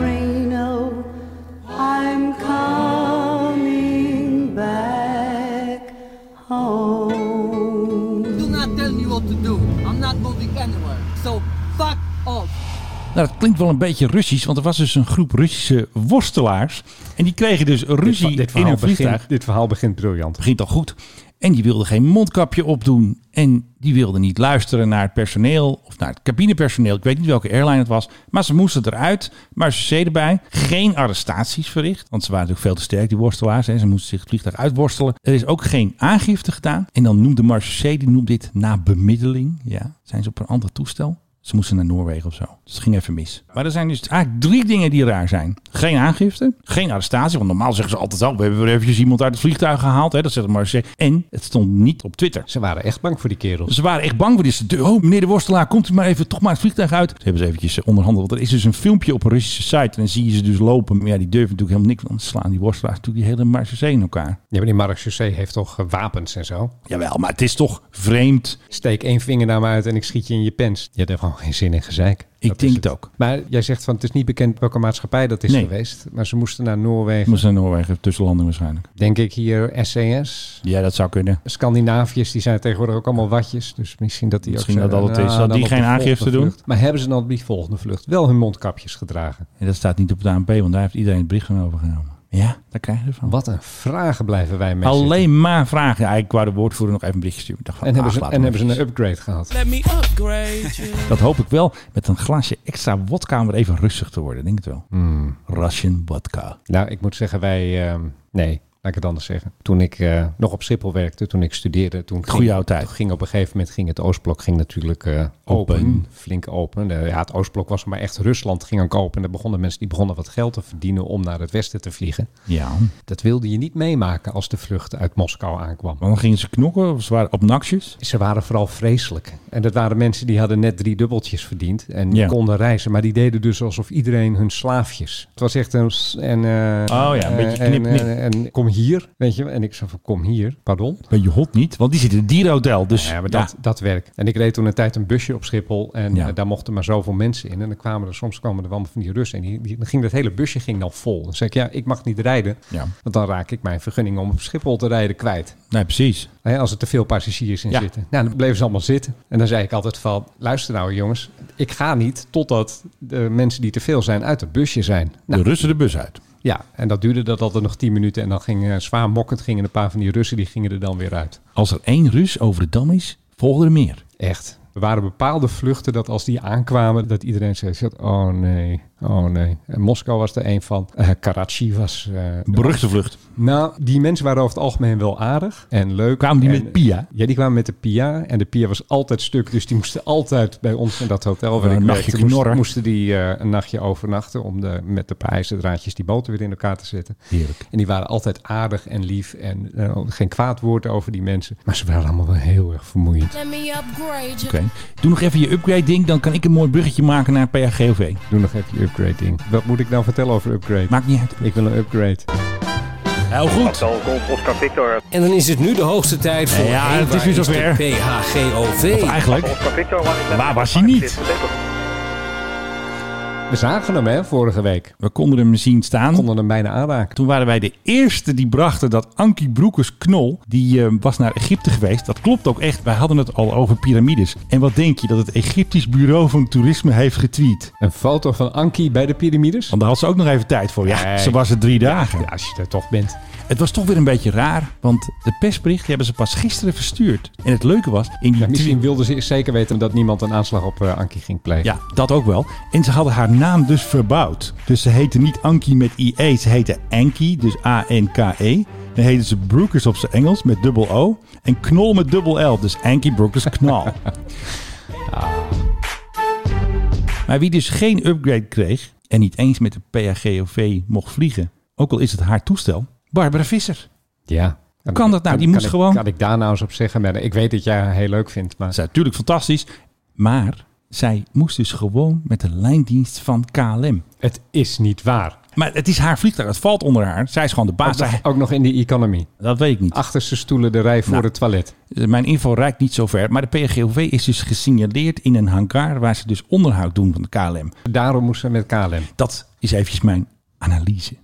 Speaker 10: Do not tell me what to do. I'm not moving anywhere. So fuck off.
Speaker 2: Nou, dat klinkt wel een beetje Russisch, want er was dus een groep Russische worstelaars. En die kregen dus ruzie
Speaker 3: dit,
Speaker 2: in
Speaker 3: verhaal
Speaker 2: hun vliegtuig.
Speaker 3: begint, dit verhaal begint briljant.
Speaker 2: begint al goed. En die wilde geen mondkapje opdoen. En die wilde niet luisteren naar het personeel of naar het cabinepersoneel. Ik weet niet welke airline het was. Maar ze moesten eruit. Maar ze zeden erbij. Geen arrestaties verricht. Want ze waren natuurlijk veel te sterk, die worstelaars. Hè. Ze moesten zich het vliegtuig uitworstelen. Er is ook geen aangifte gedaan. En dan noemde Marseille, die noemt dit na bemiddeling. Ja, zijn ze op een ander toestel? Ze moesten naar Noorwegen of zo. Dus het ging even mis. Maar er zijn dus eigenlijk drie dingen die raar zijn. Geen aangifte, geen arrestatie. Want normaal zeggen ze altijd al, we hebben weer eventjes iemand uit het vliegtuig gehaald. Hè, dat zegt maar eens. En het stond niet op Twitter.
Speaker 3: Ze waren echt bang voor die kerels.
Speaker 2: Ze waren echt bang voor dit. De- Oh, meneer de worstelaar, komt u maar even toch maar het vliegtuig uit. Ze hebben ze eventjes eh, onderhandeld. Want er is dus een filmpje op een Russische site. En dan zie je ze dus lopen. Maar ja, die durven natuurlijk helemaal niks. Want ze slaan die worstelaars natuurlijk die hele Marseille in elkaar.
Speaker 3: Ja, maar die Marc Chaussee heeft toch eh, wapens en zo?
Speaker 2: Jawel, maar het is toch vreemd.
Speaker 3: Steek één vinger naar me uit en ik schiet je in je pens. Je hebt gewoon geen zin in gezeik.
Speaker 2: Ik
Speaker 3: Dat
Speaker 2: denk
Speaker 3: is
Speaker 2: het ook.
Speaker 3: Maar jij zegt van het is niet bekend welke maatschappij dat is
Speaker 2: Nee.
Speaker 3: geweest. Maar ze moesten naar Noorwegen.
Speaker 2: Moesten naar Noorwegen, tussenlanden waarschijnlijk.
Speaker 3: Denk ik hier SCS.
Speaker 2: Ja, dat zou kunnen.
Speaker 3: Scandinaviërs die zijn tegenwoordig ook allemaal watjes. Dus misschien dat die
Speaker 2: Misschien dat
Speaker 3: ook zeiden,
Speaker 2: dat het is.
Speaker 3: nou,
Speaker 2: Dat
Speaker 3: dan
Speaker 2: die
Speaker 3: op de
Speaker 2: geen
Speaker 3: volgende
Speaker 2: aangifte doen.
Speaker 3: vlucht. Maar hebben ze dan op die volgende vlucht wel hun mondkapjes gedragen?
Speaker 2: En dat staat niet op het ANP, want daar heeft iedereen het bericht van overgenomen. Ja, daar krijg je ervan.
Speaker 3: Wat een vragen blijven wij mensen.
Speaker 2: Alleen maar vragen. Ja, ik wou de woordvoerder nog even een berichtje sturen. Ik dacht van,
Speaker 3: En, hebben
Speaker 2: ach,
Speaker 3: ze,
Speaker 2: laat
Speaker 3: en
Speaker 2: maar
Speaker 3: hebben ze een
Speaker 2: even.
Speaker 3: upgrade gehad?
Speaker 4: Let me upgrade you.
Speaker 2: Dat hoop ik wel. Met een glaasje extra wodka om weer even rustig te worden. Denk het wel.
Speaker 3: Hmm.
Speaker 2: Russian wodka.
Speaker 3: Nou, ik moet zeggen, wij... ehm, nee, laat ik het anders zeggen. Toen ik eh, nog op Schiphol werkte, toen ik studeerde... Toen
Speaker 2: Goeie
Speaker 3: ging-
Speaker 2: oude tijd.
Speaker 3: toen Ging op een gegeven moment ging het Oostblok ging natuurlijk eh, open.
Speaker 2: Open.
Speaker 3: Flink open. Eh, ja, het Oostblok was er, maar echt Rusland ging ook open. En daar begonnen mensen die begonnen wat geld te verdienen om naar het westen te vliegen.
Speaker 2: Ja.
Speaker 3: Dat wilde je niet meemaken als de vlucht uit Moskou aankwam.
Speaker 2: Want dan gingen ze knokken. Of ze waren obnoxious.
Speaker 3: Ze waren vooral vreselijk. En dat waren mensen die hadden net drie dubbeltjes verdiend en die
Speaker 2: Ja.
Speaker 3: konden reizen. Maar die deden dus alsof iedereen hun slaafjes. Het was echt een... s- En, eh,
Speaker 2: Oh ja, een beetje knip, knip.
Speaker 3: En, en kom hier, weet je. En ik zei van, kom hier, pardon.
Speaker 2: Bij je hot niet, want die zit in het dierenhotel. Dus
Speaker 3: Ja, maar dat, dat werkt. En ik reed toen een tijd een busje op Schiphol. En
Speaker 2: Ja.
Speaker 3: eh, daar mochten maar zoveel mensen in. En dan kwamen er soms kwamen er allemaal van die Russen. En die, die, dan ging dat hele busje ging dan vol. Dan zei ik, ja, ik mag niet rijden.
Speaker 2: Ja.
Speaker 3: Want dan raak ik mijn vergunning om op Schiphol te rijden kwijt.
Speaker 2: Nee, precies.
Speaker 3: Hè, als er te veel passagiers in
Speaker 2: Ja.
Speaker 3: zitten. Nou, dan bleven ze allemaal zitten. En dan zei ik altijd van, luister nou jongens. Ik ga niet totdat de mensen die te veel zijn uit het busje zijn. Nou,
Speaker 2: de Russen de bus uit.
Speaker 3: ja, en dat duurde dat altijd nog tien minuten. En dan ging eh, zwaar mokkend gingen een paar van die Russen, die gingen er dan weer uit.
Speaker 2: Als er één Rus over de dam is, volgen er meer.
Speaker 3: Echt. Er waren bepaalde vluchten dat als die aankwamen, dat iedereen zei, zat, oh nee, oh nee. En Moskou was er een van. Eh, Karachi was... eh,
Speaker 2: Beruchte vlucht.
Speaker 3: nou, die mensen waren over het algemeen wel aardig en leuk.
Speaker 2: Kwamen die
Speaker 3: En-
Speaker 2: met Pia?
Speaker 3: Ja, die kwamen met de Pia. En de Pia was altijd stuk, dus die moesten altijd bij ons in dat hotel waar
Speaker 2: Een
Speaker 3: ik
Speaker 2: nachtje
Speaker 3: werkte, moest-
Speaker 2: knorren.
Speaker 3: moesten die eh, een nachtje overnachten om de, met de prijzendraadjes die boten weer in elkaar te zetten.
Speaker 2: Heerlijk.
Speaker 3: En die waren altijd aardig en lief en eh, geen kwaad woord over die mensen. Maar ze waren allemaal wel heel erg vermoeiend.
Speaker 2: Oké. Doe nog even je upgrade ding, dan kan ik een mooi bruggetje maken naar PHGOV.
Speaker 3: Doe nog even je upgrade ding. Wat moet ik nou vertellen over upgrade?
Speaker 2: Maakt niet uit.
Speaker 3: Ik wil een upgrade.
Speaker 2: Heel goed.
Speaker 7: En dan is het nu de hoogste tijd voor...
Speaker 2: Ja,
Speaker 7: hey,
Speaker 2: het is
Speaker 7: waar
Speaker 2: weer
Speaker 7: de
Speaker 2: zover.
Speaker 7: PHGOV.
Speaker 2: Eigenlijk. Waar was hij niet?
Speaker 3: We zagen hem hè, vorige week.
Speaker 2: We konden hem zien
Speaker 3: We
Speaker 2: staan.
Speaker 3: konden hem bijna aanraken.
Speaker 2: Toen waren wij de eerste die brachten dat Ankie Broekers-Knol, die eh, was naar Egypte geweest. Dat klopt ook echt. Wij hadden het al over piramides. En wat denk je dat het Egyptisch Bureau van Toerisme heeft getweet?
Speaker 3: Een foto van Anki bij de piramides.
Speaker 2: Want daar had ze ook nog even tijd voor. Ja,
Speaker 3: Nee.
Speaker 2: ze was er drie dagen.
Speaker 3: Ja, als je er toch bent.
Speaker 2: Het was toch weer een beetje raar, want de persbericht die hebben ze pas gisteren verstuurd. En het leuke was, in die
Speaker 3: Ja, misschien
Speaker 2: tweet-
Speaker 3: wilden ze zeker weten dat niemand een aanslag op eh, Anki ging plegen.
Speaker 2: Ja, dat ook wel. En ze hadden haar naam dus verbouwd. Dus ze heette niet Ankie met IE, ze heette Ankie, dus A-N-K-E. Dan heette ze Brookers op zijn Engels met dubbel O. En Knol met dubbel L, dus Ankie Brookers Knol. Maar wie dus geen upgrade kreeg en niet eens met de PHGOV mocht vliegen, ook al is het haar toestel, Barbara Visser.
Speaker 3: Ja. Kan,
Speaker 2: Kan dat nou? Die moest
Speaker 3: ik-
Speaker 2: gewoon-
Speaker 3: Kan ik daar nou eens op zeggen? Maar ik weet dat jij haar heel leuk vindt, maar...
Speaker 2: Dat is natuurlijk fantastisch, maar zij moest dus gewoon met de lijndienst van KLM.
Speaker 3: Het is niet waar.
Speaker 2: Maar het is haar vliegtuig, het valt onder haar. Zij is gewoon de baas.
Speaker 3: Ook nog,
Speaker 2: Zij-
Speaker 3: ook nog in die economy.
Speaker 2: dat weet ik niet.
Speaker 3: Achterste stoelen de rij voor
Speaker 2: Nou.
Speaker 3: het toilet.
Speaker 2: Eh, Mijn info reikt niet zo ver. Maar de PGOV is dus gesignaleerd in een hangar waar ze dus onderhoud doen van de KLM.
Speaker 3: Daarom moest ze met KLM.
Speaker 2: Dat is eventjes mijn analyse.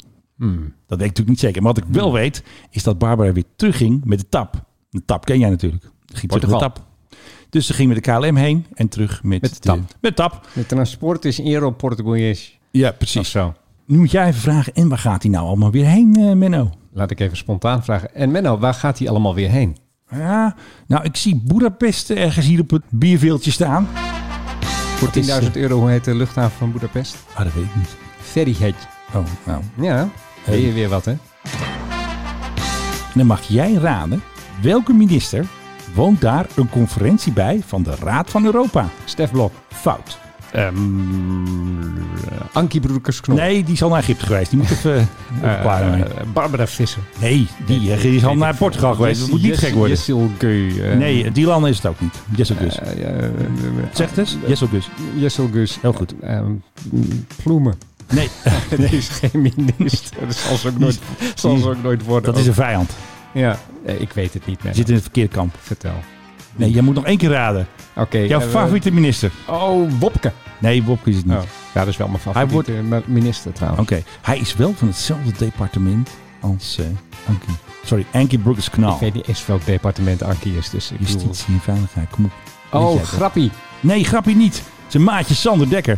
Speaker 2: Dat weet ik natuurlijk niet zeker. Maar wat ik wel weet, is dat Barbara weer terugging met de TAP. De TAP ken jij natuurlijk. Ze Ging terug met de
Speaker 3: Portugal.
Speaker 2: TAP. Dus ze ging met de KLM heen en terug met,
Speaker 3: Met de TAP.
Speaker 2: Met de TAP.
Speaker 3: De transport is Aero Portugues.
Speaker 2: Ja,
Speaker 3: Of
Speaker 2: precies.
Speaker 3: zo.
Speaker 2: Nu moet jij even vragen, en waar gaat hij nou allemaal weer heen, eh, Menno?
Speaker 3: Laat ik even spontaan vragen. En Menno, waar gaat hij allemaal weer heen?
Speaker 2: Ja, nou, ik zie Boedapest ergens hier op het bierveeltje staan.
Speaker 3: Voor 10.000 euro, hoe heet de luchthaven van Budapest?
Speaker 2: Ah, dat weet ik niet.
Speaker 3: Ferryhead.
Speaker 2: Oh, nou,
Speaker 3: Ja,
Speaker 2: Hey.
Speaker 3: weet je weer wat, hè?
Speaker 2: En dan mag jij raden welke minister woont daar een conferentie bij van de Raad van Europa.
Speaker 3: Stef Blok.
Speaker 2: Fout.
Speaker 3: Ehm, eh, Ankie Broekersknop.
Speaker 2: Nee, die is al naar Egypte geweest. Die moet even even klaar zijn.
Speaker 3: eh, Barbara Visser.
Speaker 2: Nee, die, eh, die is al naar Portugal geweest. Dat moet niet gek worden.
Speaker 3: Jessil Geu. eh,
Speaker 2: Nee, die landen is het ook niet. Jessel Gus.
Speaker 3: eh, eh, eh,
Speaker 2: Zegt dus. eens? Jessel Gus.
Speaker 3: Jessel Gus.
Speaker 2: Heel goed.
Speaker 3: Ehm, Ploemen.
Speaker 2: Nee,
Speaker 3: Die is geen minister. Dat zal ze ook nooit, zal ze ook nooit worden.
Speaker 2: dat is een vijand.
Speaker 3: Ja, eh, ik weet het niet,
Speaker 2: Je
Speaker 3: meer.
Speaker 2: zit in het verkeerde kamp.
Speaker 3: Vertel.
Speaker 2: Nee, jij moet nog één keer raden.
Speaker 3: Oké.
Speaker 2: Jouw
Speaker 3: eh,
Speaker 2: favoriete minister.
Speaker 3: Oh, Wopke.
Speaker 2: Nee, Bob is het niet.
Speaker 3: Oh, ja, dat is wel mijn favoriete
Speaker 2: Hij
Speaker 3: eh, minister trouwens.
Speaker 2: Oké, hij is wel van hetzelfde departement als eh, Ankie. Sorry, Ankie Broekers Knal.
Speaker 3: Ik weet niet eens welk departement Ankie is, dus ik bedoel...
Speaker 2: Justitie en veiligheid, kom op. Weet
Speaker 3: Oh,
Speaker 2: jij dat?
Speaker 3: grappie.
Speaker 2: Nee, grapje niet. Zijn maatje Sander Dekker.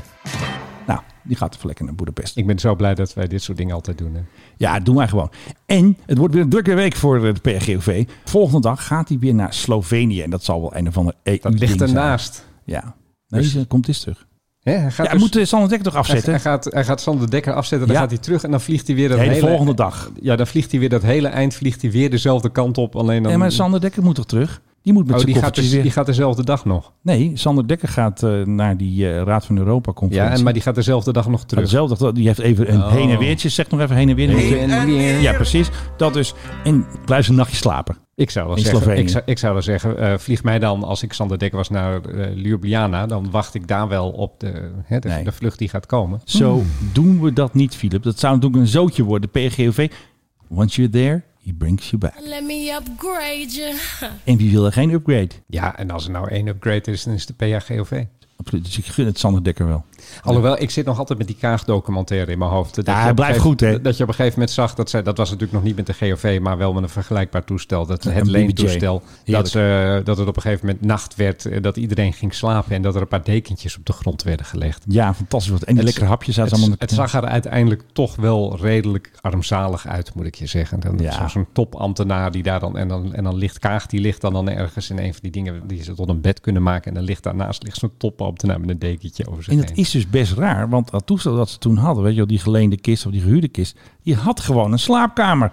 Speaker 2: Nou, die gaat even lekker naar Boedapest.
Speaker 3: Ik ben zo blij dat wij dit soort dingen altijd doen. Hè.
Speaker 2: Ja, doen wij gewoon. En het wordt weer een drukke week voor eh, de PRGOV. Volgende dag gaat hij weer naar Slovenië. En dat zal wel een of ander EU
Speaker 3: Dat ligt
Speaker 2: ding zijn.
Speaker 3: ernaast.
Speaker 2: Ja. Nee, ze komt eens terug.
Speaker 3: Hè, hij gaat
Speaker 2: Ja, hij
Speaker 3: dus-
Speaker 2: moet eh, Sander Dekker toch
Speaker 3: hij,
Speaker 2: afzetten?
Speaker 3: hij gaat, hij gaat Sander Dekker afzetten, dan
Speaker 2: Ja.
Speaker 3: gaat hij terug en dan vliegt hij weer dat
Speaker 2: de hele
Speaker 3: hele...
Speaker 2: volgende dag.
Speaker 3: Ja, dan vliegt hij weer dat hele eind, vliegt hij weer dezelfde kant op. Alleen dan...
Speaker 2: Nee, maar Sander Dekker moet toch terug? Die moet met
Speaker 3: oh,
Speaker 2: zijn
Speaker 3: die gaat,
Speaker 2: koffertjes
Speaker 3: dus-
Speaker 2: weer...
Speaker 3: die gaat dezelfde dag nog.
Speaker 2: Nee, Sander Dekker gaat eh, naar die eh, Raad van Europa-conferentie.
Speaker 3: Ja, en, maar die gaat dezelfde dag nog
Speaker 2: Maar
Speaker 3: terug.
Speaker 2: dezelfde dag, die heeft even een
Speaker 3: Oh.
Speaker 2: heen en weertje. Zeg nog even heen en weer.
Speaker 3: Heen en weer.
Speaker 2: Ja, precies. Dat dus. En blijf een nachtje slapen.
Speaker 3: Ik zou wel
Speaker 2: In
Speaker 3: zeggen,
Speaker 2: Slovenië.
Speaker 3: ik zou, ik zou wel zeggen eh, vlieg mij dan, als ik Sander Dekker was, naar eh, Ljubljana. Dan wacht ik daar wel op de, hè, de,
Speaker 2: Nee.
Speaker 3: de vlucht die gaat komen.
Speaker 2: Zo doen we dat niet, Philip. Dat zou natuurlijk een zootje worden, PGOV. Once you're there, He brings you back.
Speaker 11: Let me upgrade you.
Speaker 2: En wie wil er geen upgrade?
Speaker 3: Ja, en als er nou één upgrade is, dan is het de PHGOV.
Speaker 2: Absoluut. Dus ik gun het Sander Dekker wel.
Speaker 3: Alhoewel, ik zit nog altijd met die kaagdocumentaire in mijn hoofd. Dat
Speaker 2: Ja,
Speaker 3: je
Speaker 2: hij
Speaker 3: op
Speaker 2: blijft
Speaker 3: een gegeven-
Speaker 2: goed, hè?
Speaker 3: Dat je op een gegeven moment zag, dat, zij, dat was natuurlijk nog niet met de GOV, maar wel met een vergelijkbaar toestel. Dat het
Speaker 2: BBJ.
Speaker 3: leentoestel.
Speaker 2: Heerlijk.
Speaker 3: Dat, ze, dat het op een gegeven moment nacht werd, eh, dat iedereen ging slapen en dat er een paar dekentjes op de grond werden gelegd.
Speaker 2: Ja, fantastisch. Wat. En die
Speaker 3: Het-
Speaker 2: lekkere hapjes uit
Speaker 3: Het,
Speaker 2: allemaal.
Speaker 3: het zag er uiteindelijk toch wel redelijk armzalig uit, moet ik je zeggen. Dan
Speaker 2: Ja.
Speaker 3: zo- Zo'n topambtenaar die daar dan en, dan... en dan ligt Kaag, die ligt dan, dan ergens in een van die dingen die ze tot een bed kunnen maken. En dan ligt daarnaast ligt zo'n topambtenaar met een dekentje over zich
Speaker 2: En
Speaker 3: heen.
Speaker 2: dat is dus best raar, want dat toestel dat ze toen hadden, weet je wel, die geleende kist of die gehuurde kist, die had gewoon een slaapkamer.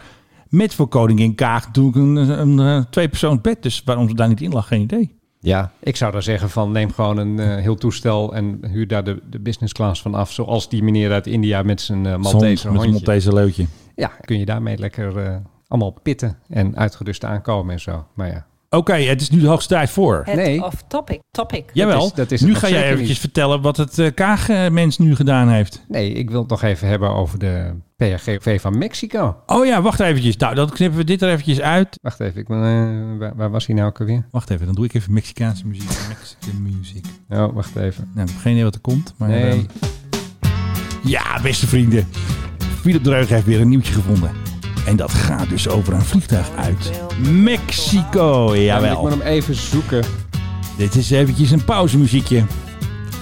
Speaker 2: Met voor koningin Kaag natuurlijk een, een, een tweepersoons bed. Dus waarom ze daar niet in lag, geen idee.
Speaker 3: Ja, ik zou daar zeggen van neem gewoon een eh, heel toestel en huur daar de, de business class van af. Zoals die meneer uit India met zijn eh Maltese
Speaker 2: Zo'n- met een
Speaker 3: hondje.
Speaker 2: Maltese leutje.
Speaker 3: Ja, kun je daarmee lekker eh, allemaal pitten en uitgerust aankomen en zo. Maar ja,
Speaker 2: Oké, het is nu de hoogste tijd voor.
Speaker 12: Het
Speaker 3: Nee.
Speaker 12: of topic. Topic.
Speaker 2: Jawel,
Speaker 3: is- dat is
Speaker 2: nu
Speaker 3: het
Speaker 2: ga
Speaker 3: nog
Speaker 2: jij
Speaker 3: zeker
Speaker 2: eventjes
Speaker 3: niet.
Speaker 2: vertellen wat het eh Kaag-mens nu gedaan heeft.
Speaker 3: nee, ik wil het nog even hebben over de PRGV van Mexico.
Speaker 2: Oh ja, wacht eventjes. Nou, dan knippen we dit er eventjes uit.
Speaker 3: Wacht even, ik, ben, eh, waar, waar was hij nou ook alweer?
Speaker 2: Wacht even, dan doe ik even Mexicaanse muziek. Mexican music.
Speaker 3: Oh, wacht even.
Speaker 2: Nou, ik heb geen idee wat er komt, maar...
Speaker 3: Nee.
Speaker 2: ehm, ja, beste vrienden. Philip Dreug heeft weer een nieuwtje gevonden. En dat gaat dus over een vliegtuig uit Mexico.
Speaker 3: Ja, Ik moet
Speaker 2: Jawel.
Speaker 3: hem even zoeken.
Speaker 2: Dit is eventjes een pauzemuziekje. Oh,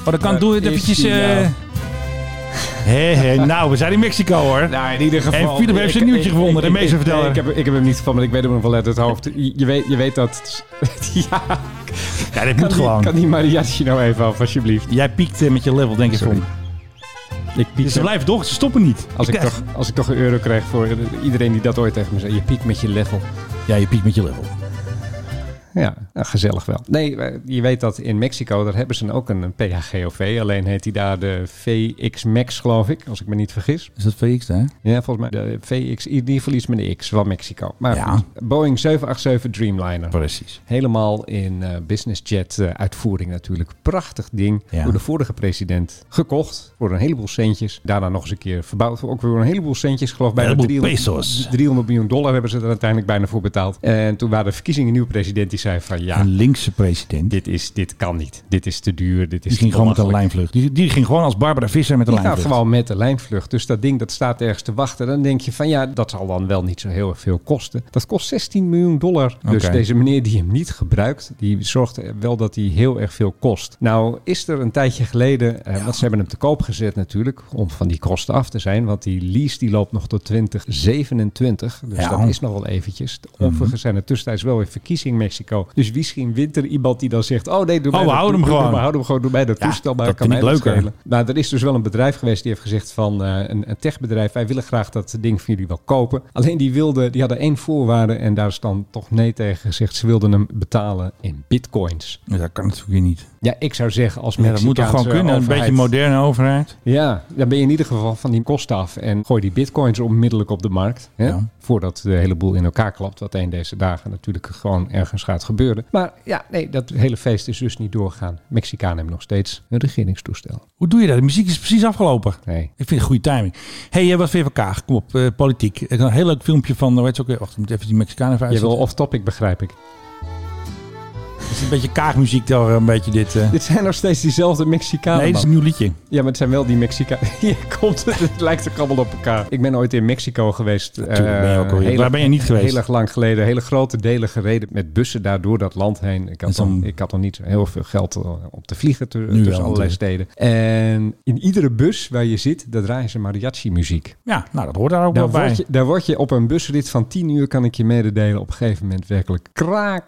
Speaker 2: dan kan
Speaker 3: Waar
Speaker 2: doe het
Speaker 3: is
Speaker 2: eventjes...
Speaker 3: die
Speaker 2: eh,
Speaker 3: nou?
Speaker 2: Hé, hé, nou, we zijn in Mexico hoor.
Speaker 3: Nou, in ieder geval.
Speaker 2: En Philip heeft zijn
Speaker 3: Ik-
Speaker 2: nieuwtje
Speaker 3: ik-
Speaker 2: gevonden,
Speaker 3: ik-
Speaker 2: de
Speaker 3: ik-
Speaker 2: meesterverteller.
Speaker 3: nee, Ik, heb, ik heb hem niet gevonden, ik weet hem nog wel uit het hoofd. Je, je weet, je weet dat. ja,
Speaker 2: Ja, dit
Speaker 3: kan
Speaker 2: moet
Speaker 3: die,
Speaker 2: gewoon.
Speaker 3: Kan die mariachi nou even af, alsjeblieft?
Speaker 2: Jij piekt eh, met je level, denk ik.
Speaker 3: Sorry.
Speaker 2: Van.
Speaker 3: Ik piek
Speaker 2: Dus ze blijven door, ze stoppen niet.
Speaker 3: als, ik
Speaker 2: dacht-
Speaker 3: toch, als ik toch een euro krijg voor eh, iedereen die dat ooit tegen me zei. Je piekt met je level.
Speaker 2: Ja, je piekt met je level.
Speaker 3: Ja, nou, gezellig wel. Nee, eh, je weet dat in Mexico, daar hebben ze ook een een PHGOV. Alleen heet die daar de VX Max, geloof ik, als ik me niet vergis.
Speaker 2: Is dat VX daar?
Speaker 3: Ja, volgens mij de VX, in ieder geval iets met een X van Mexico. Maar
Speaker 2: Ja.
Speaker 3: goed, Boeing 787 Dreamliner.
Speaker 2: Precies.
Speaker 3: Helemaal in eh business jet eh, uitvoering natuurlijk. Prachtig ding.
Speaker 2: Ja.
Speaker 3: Door de vorige president gekocht. Voor een heleboel centjes. Daarna nog eens een keer verbouwd. Ook weer een heleboel centjes. Ik geloof bijna
Speaker 2: Heleboel
Speaker 3: 300,
Speaker 2: pesos.
Speaker 3: 300 miljoen dollar hebben ze er uiteindelijk bijna voor betaald. En toen waren de verkiezingen een nieuwe president die zei van ja,
Speaker 2: Een linkse president.
Speaker 3: dit, is, dit kan niet. Dit is te duur. Dit is
Speaker 2: Die ging
Speaker 3: te
Speaker 2: gewoon met een
Speaker 3: belachelijk.
Speaker 2: lijnvlucht. Die, die ging gewoon als Barbara Visser met een
Speaker 3: Die gaat
Speaker 2: lijnvlucht.
Speaker 3: gewoon met de lijnvlucht. Dus dat ding dat staat ergens te wachten. Dan denk je van ja, dat zal dan wel niet zo heel erg veel kosten. Dat kost 16 miljoen dollar. Dus
Speaker 2: Oké.
Speaker 3: deze meneer die hem niet gebruikt, die zorgt er wel dat hij heel erg veel kost. Nou is er een tijdje geleden, eh, want ze hebben hem te koop gezet natuurlijk, om van die kosten af te zijn. Want die lease die loopt nog tot 2027. Dus
Speaker 2: Ja. Mhm.
Speaker 3: dat is nog wel eventjes. Overigens zijn er tussentijds wel weer verkiezingen in Mexico. Dus misschien wint er iemand die dan zegt, oh nee, doe
Speaker 2: Oh,
Speaker 3: mij
Speaker 2: we
Speaker 3: dat-
Speaker 2: houden hem
Speaker 3: doe- doe
Speaker 2: gewoon.
Speaker 3: maar, houden hem gewoon, doe mij dat
Speaker 2: Ja,
Speaker 3: toestel, maar
Speaker 2: dat
Speaker 3: kan
Speaker 2: vind
Speaker 3: mij
Speaker 2: ik
Speaker 3: dat
Speaker 2: leuker.
Speaker 3: schelen. Nou, er is dus wel een bedrijf geweest die heeft gezegd van eh, een, een techbedrijf, wij willen graag dat ding van jullie wel kopen. Alleen die wilden, die hadden één voorwaarde en daar is dan toch nee tegen gezegd. Ze wilden hem betalen in bitcoins.
Speaker 2: Ja, dat kan natuurlijk weer niet. eh,
Speaker 3: Ja, ik zou zeggen als
Speaker 2: Ja, dat
Speaker 3: Mexicaanse
Speaker 2: moet toch gewoon kunnen. Een
Speaker 3: overheid-
Speaker 2: beetje moderne overheid.
Speaker 3: Ja, dan ben je in ieder geval van die kosten af en gooi die bitcoins onmiddellijk op de markt. Hè?
Speaker 2: Ja.
Speaker 3: Voordat de hele boel in elkaar klapt, wat een deze dagen natuurlijk gewoon ergens gaat gebeuren. Maar ja, nee, dat hele feest is dus niet doorgaan. Mexicanen hebben nog steeds een regeringstoestel.
Speaker 2: Hoe doe je dat? De muziek is precies afgelopen.
Speaker 3: Nee.
Speaker 2: Ik vind het goede timing. Hé, hey, eh, wat vind je van Kaag? Kom op, eh, politiek. Ik had een heel leuk filmpje van... eh, Weet je ook weer, wacht, ik moet even die Mexicaan even
Speaker 3: Je wil
Speaker 2: uitzetten.
Speaker 3: off-topic, begrijp ik.
Speaker 2: Het is een beetje Kaagmuziek toch, een beetje dit... eh.
Speaker 3: Dit zijn nog steeds diezelfde Mexicanen.
Speaker 2: Nee, dit is een
Speaker 3: man.
Speaker 2: nieuw liedje.
Speaker 3: Ja, maar het zijn wel die Mexicanen. Hier komt het. Het lijkt ook allemaal op elkaar. Ik ben ooit in Mexico geweest.
Speaker 2: Tuurlijk ben je ook
Speaker 3: eh,
Speaker 2: alweer.
Speaker 3: heel-
Speaker 2: Waar ben je niet geweest?
Speaker 3: Heel erg lang geleden. Hele grote delen gereden met bussen daar door dat land heen. Ik
Speaker 2: Dat is
Speaker 3: had, dan,
Speaker 2: dan-
Speaker 3: ik had nog niet zo heel veel geld eh, om te vliegen tu- tussen
Speaker 2: wel eh.
Speaker 3: allerlei steden. En in iedere bus waar je zit, daar draaien ze mariachi muziek.
Speaker 2: Ja, nou, dat hoort daar ook
Speaker 3: Daar
Speaker 2: wel bij.
Speaker 3: word, je, daar word je op een busrit van 10 uur, kan ik je mededelen, op een gegeven moment werkelijk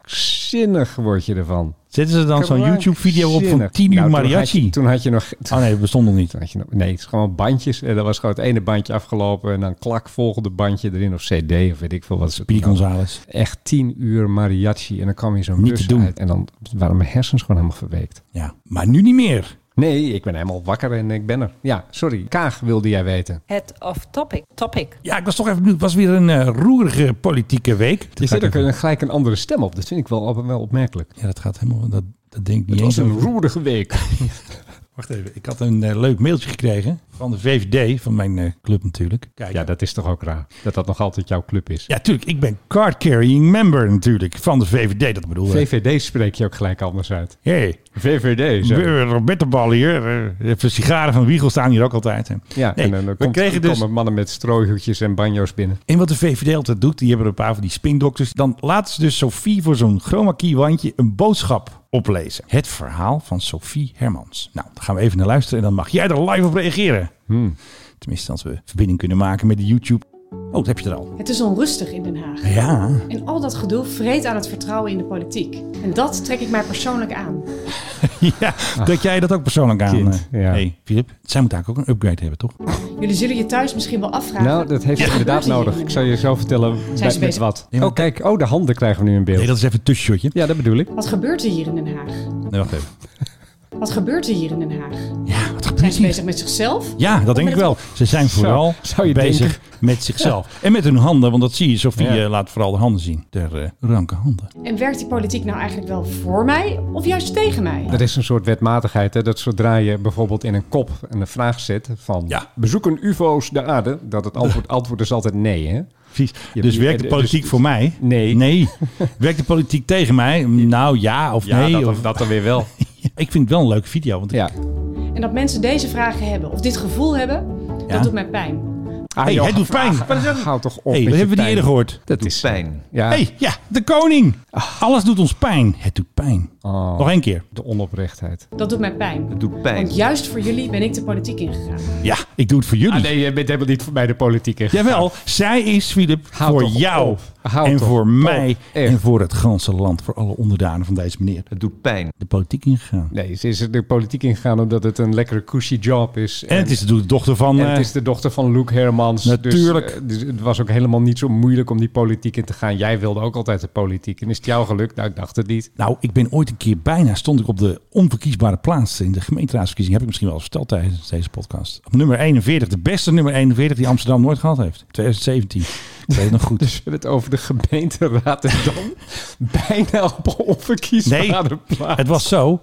Speaker 3: kraakzinnig word je ervan.
Speaker 2: Zetten ze dan zo'n YouTube-video op van 10 uur
Speaker 3: Nou, toen had
Speaker 2: mariachi?
Speaker 3: je- Toen had je nog...
Speaker 2: Oh nee, dat bestond nog niet.
Speaker 3: toen had je nog- nee, het is gewoon bandjes. En dan was gewoon het ene bandje afgelopen. En dan klak volgende bandje erin. Of cd of weet ik veel wat. ze
Speaker 2: Pie
Speaker 3: toen hadden.
Speaker 2: González.
Speaker 3: Echt tien uur mariachi. En dan kwam je zo'n
Speaker 2: Niet
Speaker 3: bus
Speaker 2: te doen.
Speaker 3: uit. En dan waren mijn hersens gewoon helemaal verweekt.
Speaker 2: Ja, maar nu niet meer.
Speaker 3: Nee, ik ben helemaal wakker en ik ben er. Ja, sorry. Kaag wilde jij weten.
Speaker 12: Het of topic. Topic.
Speaker 2: Ja, ik was toch even benieuwd. Het was weer een eh, roerige politieke week.
Speaker 3: Je zit ook een- gelijk een andere stem op. Dat vind ik wel, wel opmerkelijk.
Speaker 2: Ja, dat gaat helemaal... Dat, dat denk ik niet
Speaker 3: Het was
Speaker 2: eens
Speaker 3: een
Speaker 2: over.
Speaker 3: roerige week.
Speaker 2: Wacht even, ik had een eh, leuk mailtje gekregen van de VVD, van mijn eh, club natuurlijk. Kijk,
Speaker 3: Ja, dat is toch ook raar. Dat dat nog altijd jouw club is.
Speaker 2: Ja, tuurlijk. Ik ben card carrying member natuurlijk van de VVD. Dat bedoel ik.
Speaker 3: VVD spreek je ook gelijk anders uit.
Speaker 2: Hey.
Speaker 3: VVD. zo.
Speaker 2: Roberto Bal hier. eh, Even sigaren van Wiegel staan hier ook altijd. hè.
Speaker 3: Ja,
Speaker 2: Nee,
Speaker 3: en dan
Speaker 2: we
Speaker 3: eh, komt,
Speaker 2: kregen dus-
Speaker 3: komen mannen met strooihoedjes en banjo's binnen.
Speaker 2: En wat de VVD altijd doet, die hebben een paar van die spindokters. Dan laten ze dus Sophie voor zo'n chroma key wandje een boodschap oplezen. Het verhaal van Sophie Hermans. Nou, daar gaan we even naar luisteren en dan mag jij er live op reageren. Tenminste, als we verbinding kunnen maken met de YouTube. Oh, dat heb je er al.
Speaker 13: Het is onrustig in Den Haag.
Speaker 2: Ja.
Speaker 13: En al dat gedoe vreet aan het vertrouwen in de politiek. En dat trek ik mij persoonlijk aan.
Speaker 2: ja, dat jij dat ook persoonlijk aan.
Speaker 3: Kind,
Speaker 2: eh, hey, Filip, zij moet eigenlijk ook een upgrade hebben, toch?
Speaker 13: Jullie zullen je thuis misschien wel afvragen.
Speaker 3: Nou, dat heeft
Speaker 13: wat
Speaker 3: je inderdaad
Speaker 13: gebeurt hier
Speaker 3: nodig.
Speaker 13: in Den
Speaker 3: Ik zal je zo vertellen bij-
Speaker 13: ze
Speaker 3: met
Speaker 13: bezig?
Speaker 3: wat. Oh, kijk. Oh, de handen krijgen we nu in beeld. Nee,
Speaker 2: dat is even een tussenshotje.
Speaker 3: Ja, dat bedoel ik.
Speaker 13: Haag? Wat gebeurt er hier in Den Haag?
Speaker 2: Nee, wacht even.
Speaker 13: Wat gebeurt er hier in Den Haag?
Speaker 2: Ja, wat
Speaker 13: Zijn ze bezig met zichzelf?
Speaker 2: Ja, dat
Speaker 13: Of
Speaker 2: denk
Speaker 13: met
Speaker 2: ik
Speaker 13: het-
Speaker 2: wel. Ze zijn
Speaker 3: Zo,
Speaker 2: vooral
Speaker 3: zou je
Speaker 2: bezig
Speaker 3: denken.
Speaker 2: met zichzelf. En met hun handen, want dat zie je. Sophie
Speaker 3: Ja.
Speaker 2: eh, laat vooral de handen zien. Der eh, ranke handen.
Speaker 13: En werkt die politiek nou eigenlijk wel voor mij of juist tegen mij?
Speaker 3: Dat is een soort wetmatigheid. Hè? Dat zodra je bijvoorbeeld in een kop een vraag zet van... Bezoeken ufo's de aarde? Dat het antwoord, antwoord is altijd nee, hè?
Speaker 2: Precies.
Speaker 3: Je-
Speaker 2: dus
Speaker 3: je-
Speaker 2: werkt de
Speaker 3: dus-
Speaker 2: politiek voor mij?
Speaker 3: Nee.
Speaker 2: Nee. Werkt de politiek tegen mij? Nou ja of
Speaker 3: Ja,
Speaker 2: nee.
Speaker 3: dat-
Speaker 2: of...
Speaker 3: dat dan weer wel.
Speaker 2: ik vind het wel een leuke video. Want ja.
Speaker 13: En dat mensen deze vragen hebben of dit gevoel hebben,
Speaker 2: Ja.
Speaker 13: dat doet mij pijn.
Speaker 2: hey,
Speaker 3: Ah, joh,
Speaker 2: het doet pijn.
Speaker 3: vragen. Hou toch
Speaker 2: hey,
Speaker 3: op met
Speaker 2: dat hebben
Speaker 3: je
Speaker 2: we niet
Speaker 3: pijn.
Speaker 2: eerder gehoord.
Speaker 3: Dat is pijn. Ja. Ah.
Speaker 2: hey, ja, de koning. Alles doet ons pijn. Het doet pijn.
Speaker 3: Oh.
Speaker 2: Nog één keer.
Speaker 3: De onoprechtheid.
Speaker 13: Dat doet mij pijn.
Speaker 2: Het doet
Speaker 13: Want juist voor jullie ben ik de politiek ingegaan.
Speaker 2: Ja, ik doe het voor jullie.
Speaker 3: Ah, nee, je bent helemaal niet voor mij de politiek. ingegaan.
Speaker 2: Jawel, zij is, Filip,
Speaker 3: Hou
Speaker 2: voor
Speaker 3: toch
Speaker 2: jou
Speaker 3: op. Hou
Speaker 2: en
Speaker 3: toch
Speaker 2: voor
Speaker 3: op.
Speaker 2: mij
Speaker 3: Echt.
Speaker 2: en voor het ganse land, voor alle onderdanen van deze meneer. Het doet pijn. De politiek ingegaan.
Speaker 3: Nee, ze is er de politiek ingegaan omdat het een lekkere cushy job is.
Speaker 2: En het is de dochter van...
Speaker 3: En het
Speaker 2: eh,
Speaker 3: is de dochter van Luc Hermans.
Speaker 2: Natuurlijk.
Speaker 3: Dus, eh, Dus, het was ook helemaal niet zo moeilijk om die politiek in te gaan. Jij wilde ook altijd de politiek. En is het jou gelukt? Nou, ik dacht het niet.
Speaker 2: Nou, ik ben ooit een keer bijna, stond ik op de onverkiesbare plaats in de gemeenteraadsverkiezing. Heb ik misschien wel eens verteld tijdens deze podcast. Op nummer 41, de beste nummer 41 die Amsterdam nooit gehad heeft. 2017. Ik weet het nog goed.
Speaker 3: Dus we hebben het over de gemeenteraad en dan bijna op
Speaker 2: Nee,
Speaker 3: onverkiesbare plaats.
Speaker 2: het was zo.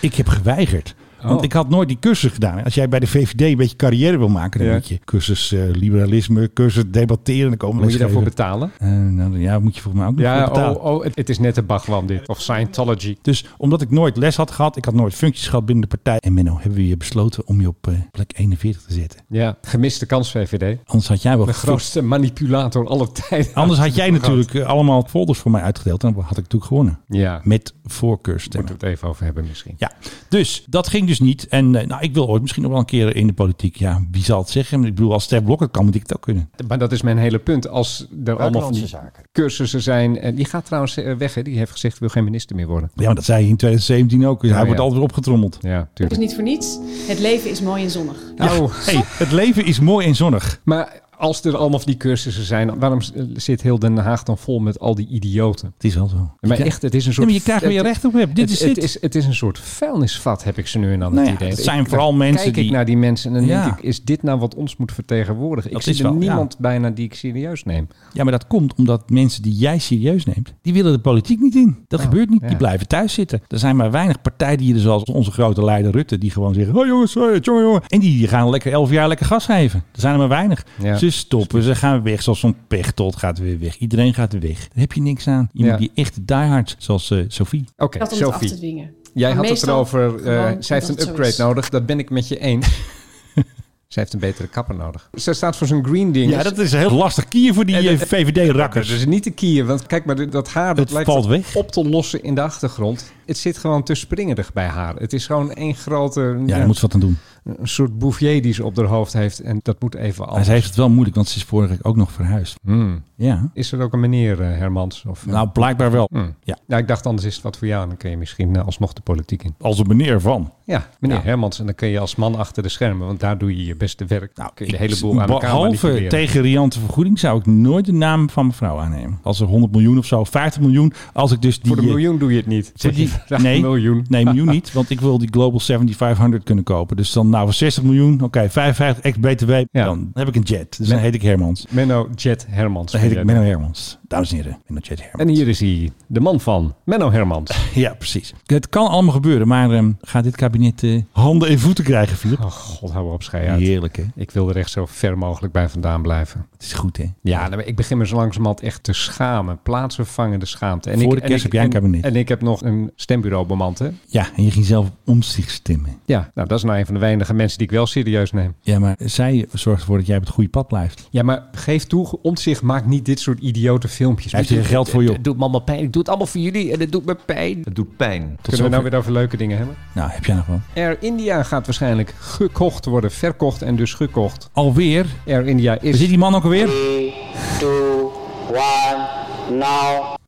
Speaker 2: Ik heb geweigerd. Want
Speaker 3: Oh.
Speaker 2: ik had nooit die cursus gedaan. Als jij bij de VVD een beetje carrière wil maken, dan
Speaker 3: Ja.
Speaker 2: moet je cursus eh, liberalisme, cursus debatteren. Dan komen
Speaker 3: Moet je daarvoor
Speaker 2: lesgeven.
Speaker 3: betalen?
Speaker 2: Eh, nou, ja, moet je voor mij ook nog
Speaker 3: Ja,
Speaker 2: voor betalen.
Speaker 3: oh, oh, het, het is net een bagwam dit. Of Scientology.
Speaker 2: Dus omdat ik nooit les had gehad, ik had nooit functies gehad binnen de partij. En Menno, hebben we je besloten om je op eh, plek 41 te zetten.
Speaker 3: Ja, gemiste kans VVD.
Speaker 2: Anders had jij wel
Speaker 3: De
Speaker 2: gevoel-
Speaker 3: grootste manipulator aller tijden.
Speaker 2: Anders had jij natuurlijk eh, allemaal folders voor mij uitgedeeld. En dan had ik natuurlijk gewonnen.
Speaker 3: Ja.
Speaker 2: Met voorkeurstemmen.
Speaker 3: Moeten we het even over hebben misschien.
Speaker 2: Ja, dus dat ging dus niet. En eh, nou, ik wil ooit misschien nog wel een keer in de politiek. Ja, wie zal het zeggen? Ik bedoel, als Ter Blok het kan, moet ik het ook kunnen.
Speaker 3: Maar dat is mijn hele punt. Als er allemaal van die
Speaker 14: zaken.
Speaker 3: cursussen zijn. En die gaat trouwens eh, weg. Hè. Die heeft gezegd, wil geen minister meer worden.
Speaker 2: Ja, maar dat zei hij in 2017 ook. Hij
Speaker 3: Ja,
Speaker 2: wordt
Speaker 3: ja.
Speaker 2: altijd weer opgetrommeld.
Speaker 3: Ja,
Speaker 13: Het is niet voor niets. Het leven is mooi en zonnig.
Speaker 3: Oh.
Speaker 2: Hey, het leven is mooi en zonnig.
Speaker 3: Maar als er allemaal van die cursussen zijn, waarom eh, zit heel Den Haag dan vol met al die idioten?
Speaker 2: Het is wel zo.
Speaker 3: Maar
Speaker 2: Ja.
Speaker 3: echt, het is een
Speaker 2: Ja,
Speaker 3: soort...
Speaker 2: maar je krijgt weer je
Speaker 3: het-
Speaker 2: recht op, Web. Dit
Speaker 3: het,
Speaker 2: is
Speaker 3: het,
Speaker 2: dit.
Speaker 3: is, het is een soort vuilnisvat, heb ik ze nu en dan
Speaker 2: Nou ja,
Speaker 3: het idee.
Speaker 2: het
Speaker 3: Ik-
Speaker 2: zijn vooral
Speaker 3: dan
Speaker 2: mensen
Speaker 3: kijk
Speaker 2: die-
Speaker 3: ik naar die mensen en dan
Speaker 2: Ja.
Speaker 3: denk ik, is dit nou wat ons moet vertegenwoordigen?
Speaker 2: Dat
Speaker 3: ik
Speaker 2: is
Speaker 3: zie er
Speaker 2: wel, ja.
Speaker 3: niemand bijna die ik serieus neem.
Speaker 2: Ja, maar dat komt omdat mensen die jij serieus neemt, die willen de politiek niet in. Dat gebeurt niet. Die
Speaker 3: ja.
Speaker 2: blijven thuis zitten. Er zijn maar weinig partijen die er zoals onze grote leider Rutte, die gewoon zeggen, oh jongens, hoi, jongen, jongen. En die gaan lekker elf jaar lekker gas geven. Er zijn er maar weinig.
Speaker 3: Ja.
Speaker 2: Ze stoppen, ze gaan weg. Zoals zo'n pechtold gaat weer weg. Iedereen gaat weg. Daar heb je niks aan. Je
Speaker 3: Ja.
Speaker 2: moet die echte diehards, zoals eh Sophie.
Speaker 3: Oké,
Speaker 13: dat om het af te
Speaker 3: Sophie.
Speaker 13: dwingen.
Speaker 3: Jij
Speaker 13: Maar
Speaker 3: had het
Speaker 13: meestal
Speaker 3: erover, eh,
Speaker 13: gewoon
Speaker 3: zij
Speaker 13: omdat
Speaker 3: heeft
Speaker 13: het
Speaker 3: een
Speaker 13: zo
Speaker 3: upgrade
Speaker 13: is.
Speaker 3: nodig. Dat ben ik met je eens. zij heeft een betere kapper nodig. Zij staat voor zo'n green ding.
Speaker 2: Ja, dat is een heel lastig kier voor die eh,
Speaker 3: En dat-
Speaker 2: VVD-rakkers.
Speaker 3: Dat is niet te kieën, want kijk maar, dit- dat haar dat
Speaker 2: Het
Speaker 3: lijkt
Speaker 2: valt weg.
Speaker 3: op te lossen in de achtergrond. Het zit gewoon te springerig bij haar. Het is gewoon één grote...
Speaker 2: ja, daar moet ze wat aan doen.
Speaker 3: Een soort bouvier die ze op haar hoofd heeft. En dat moet even
Speaker 2: Maar
Speaker 3: anders.
Speaker 2: ze heeft het wel moeilijk, want ze is vorige week ook nog verhuisd.
Speaker 3: Hmm.
Speaker 2: Ja.
Speaker 3: Is er ook een meneer eh, Hermans? Of, eh,
Speaker 2: Nou, blijkbaar wel.
Speaker 3: hmm.
Speaker 2: Ja.
Speaker 3: Nou, ik dacht anders is het wat voor jou. En dan kun je misschien eh, alsnog de politiek in.
Speaker 2: Als een meneer van.
Speaker 3: Ja, meneer
Speaker 2: Ja.
Speaker 3: Hermans. En dan kun je als man achter de schermen. Want daar doe je je beste werk. Nou, kun je de hele boel aan elkaar
Speaker 2: Behalve
Speaker 3: manipuleren.
Speaker 2: tegen riante vergoeding zou ik nooit de naam van mevrouw aannemen. Als er 100 miljoen of zo, 50 miljoen. Als ik dus die,
Speaker 3: Voor de miljoen doe je het niet.
Speaker 2: eh, voor die,
Speaker 3: vraagt
Speaker 2: nee,
Speaker 3: een miljoen.
Speaker 2: Nee, miljoen niet. Want ik wil die Global 7500 kunnen kopen. Dus dan nou voor 60 miljoen. Oké, 55 ex BTW. Dan heb ik een jet. Dus dan heet ik Hermans.
Speaker 3: Menno Jet Hermans.
Speaker 2: Dan heet ik Menno Hermans. Dames en heren, Menno Jet Hermans.
Speaker 3: En hier is hij, de man van Menno Hermans.
Speaker 2: ja, precies. Het kan allemaal gebeuren, maar ehm, gaat dit kabinet eh, handen en voeten krijgen, Filip?
Speaker 3: Oh god, hou op, schei uit.
Speaker 2: Heerlijk, hè?
Speaker 3: Ik wil er echt zo ver mogelijk bij vandaan blijven.
Speaker 2: Het is goed, hè?
Speaker 3: Ja, nou, maar ik begin me zo langzamerhand echt te schamen. Plaatsvervangende schaamte.
Speaker 2: Voor
Speaker 3: ik,
Speaker 2: de kerst heb
Speaker 3: ik-
Speaker 2: jij een
Speaker 3: en-
Speaker 2: kabinet.
Speaker 3: En ik heb nog een stembureau bemand, hè?
Speaker 2: Ja, en je ging zelf om zich stemmen.
Speaker 3: Ja, nou, dat is nou een van de weinige mensen die ik wel serieus neem.
Speaker 2: Ja, maar zij zorgt ervoor dat jij op het goede pad blijft.
Speaker 3: Ja, maar geef toe, omzicht maakt niet dit soort idiote filmpjes.
Speaker 2: Hij heeft hier geld voor je op.
Speaker 3: Het doet me allemaal pijn. Ik doe het allemaal voor jullie en het doet me pijn.
Speaker 2: Het doet pijn. Tot
Speaker 3: Kunnen we nou
Speaker 2: zover.
Speaker 3: weer over leuke dingen hebben?
Speaker 2: Nou, heb jij nog wel?
Speaker 3: Air India gaat waarschijnlijk gekocht worden, verkocht en dus gekocht.
Speaker 2: Alweer?
Speaker 3: Air India is...
Speaker 2: Zit die man ook alweer?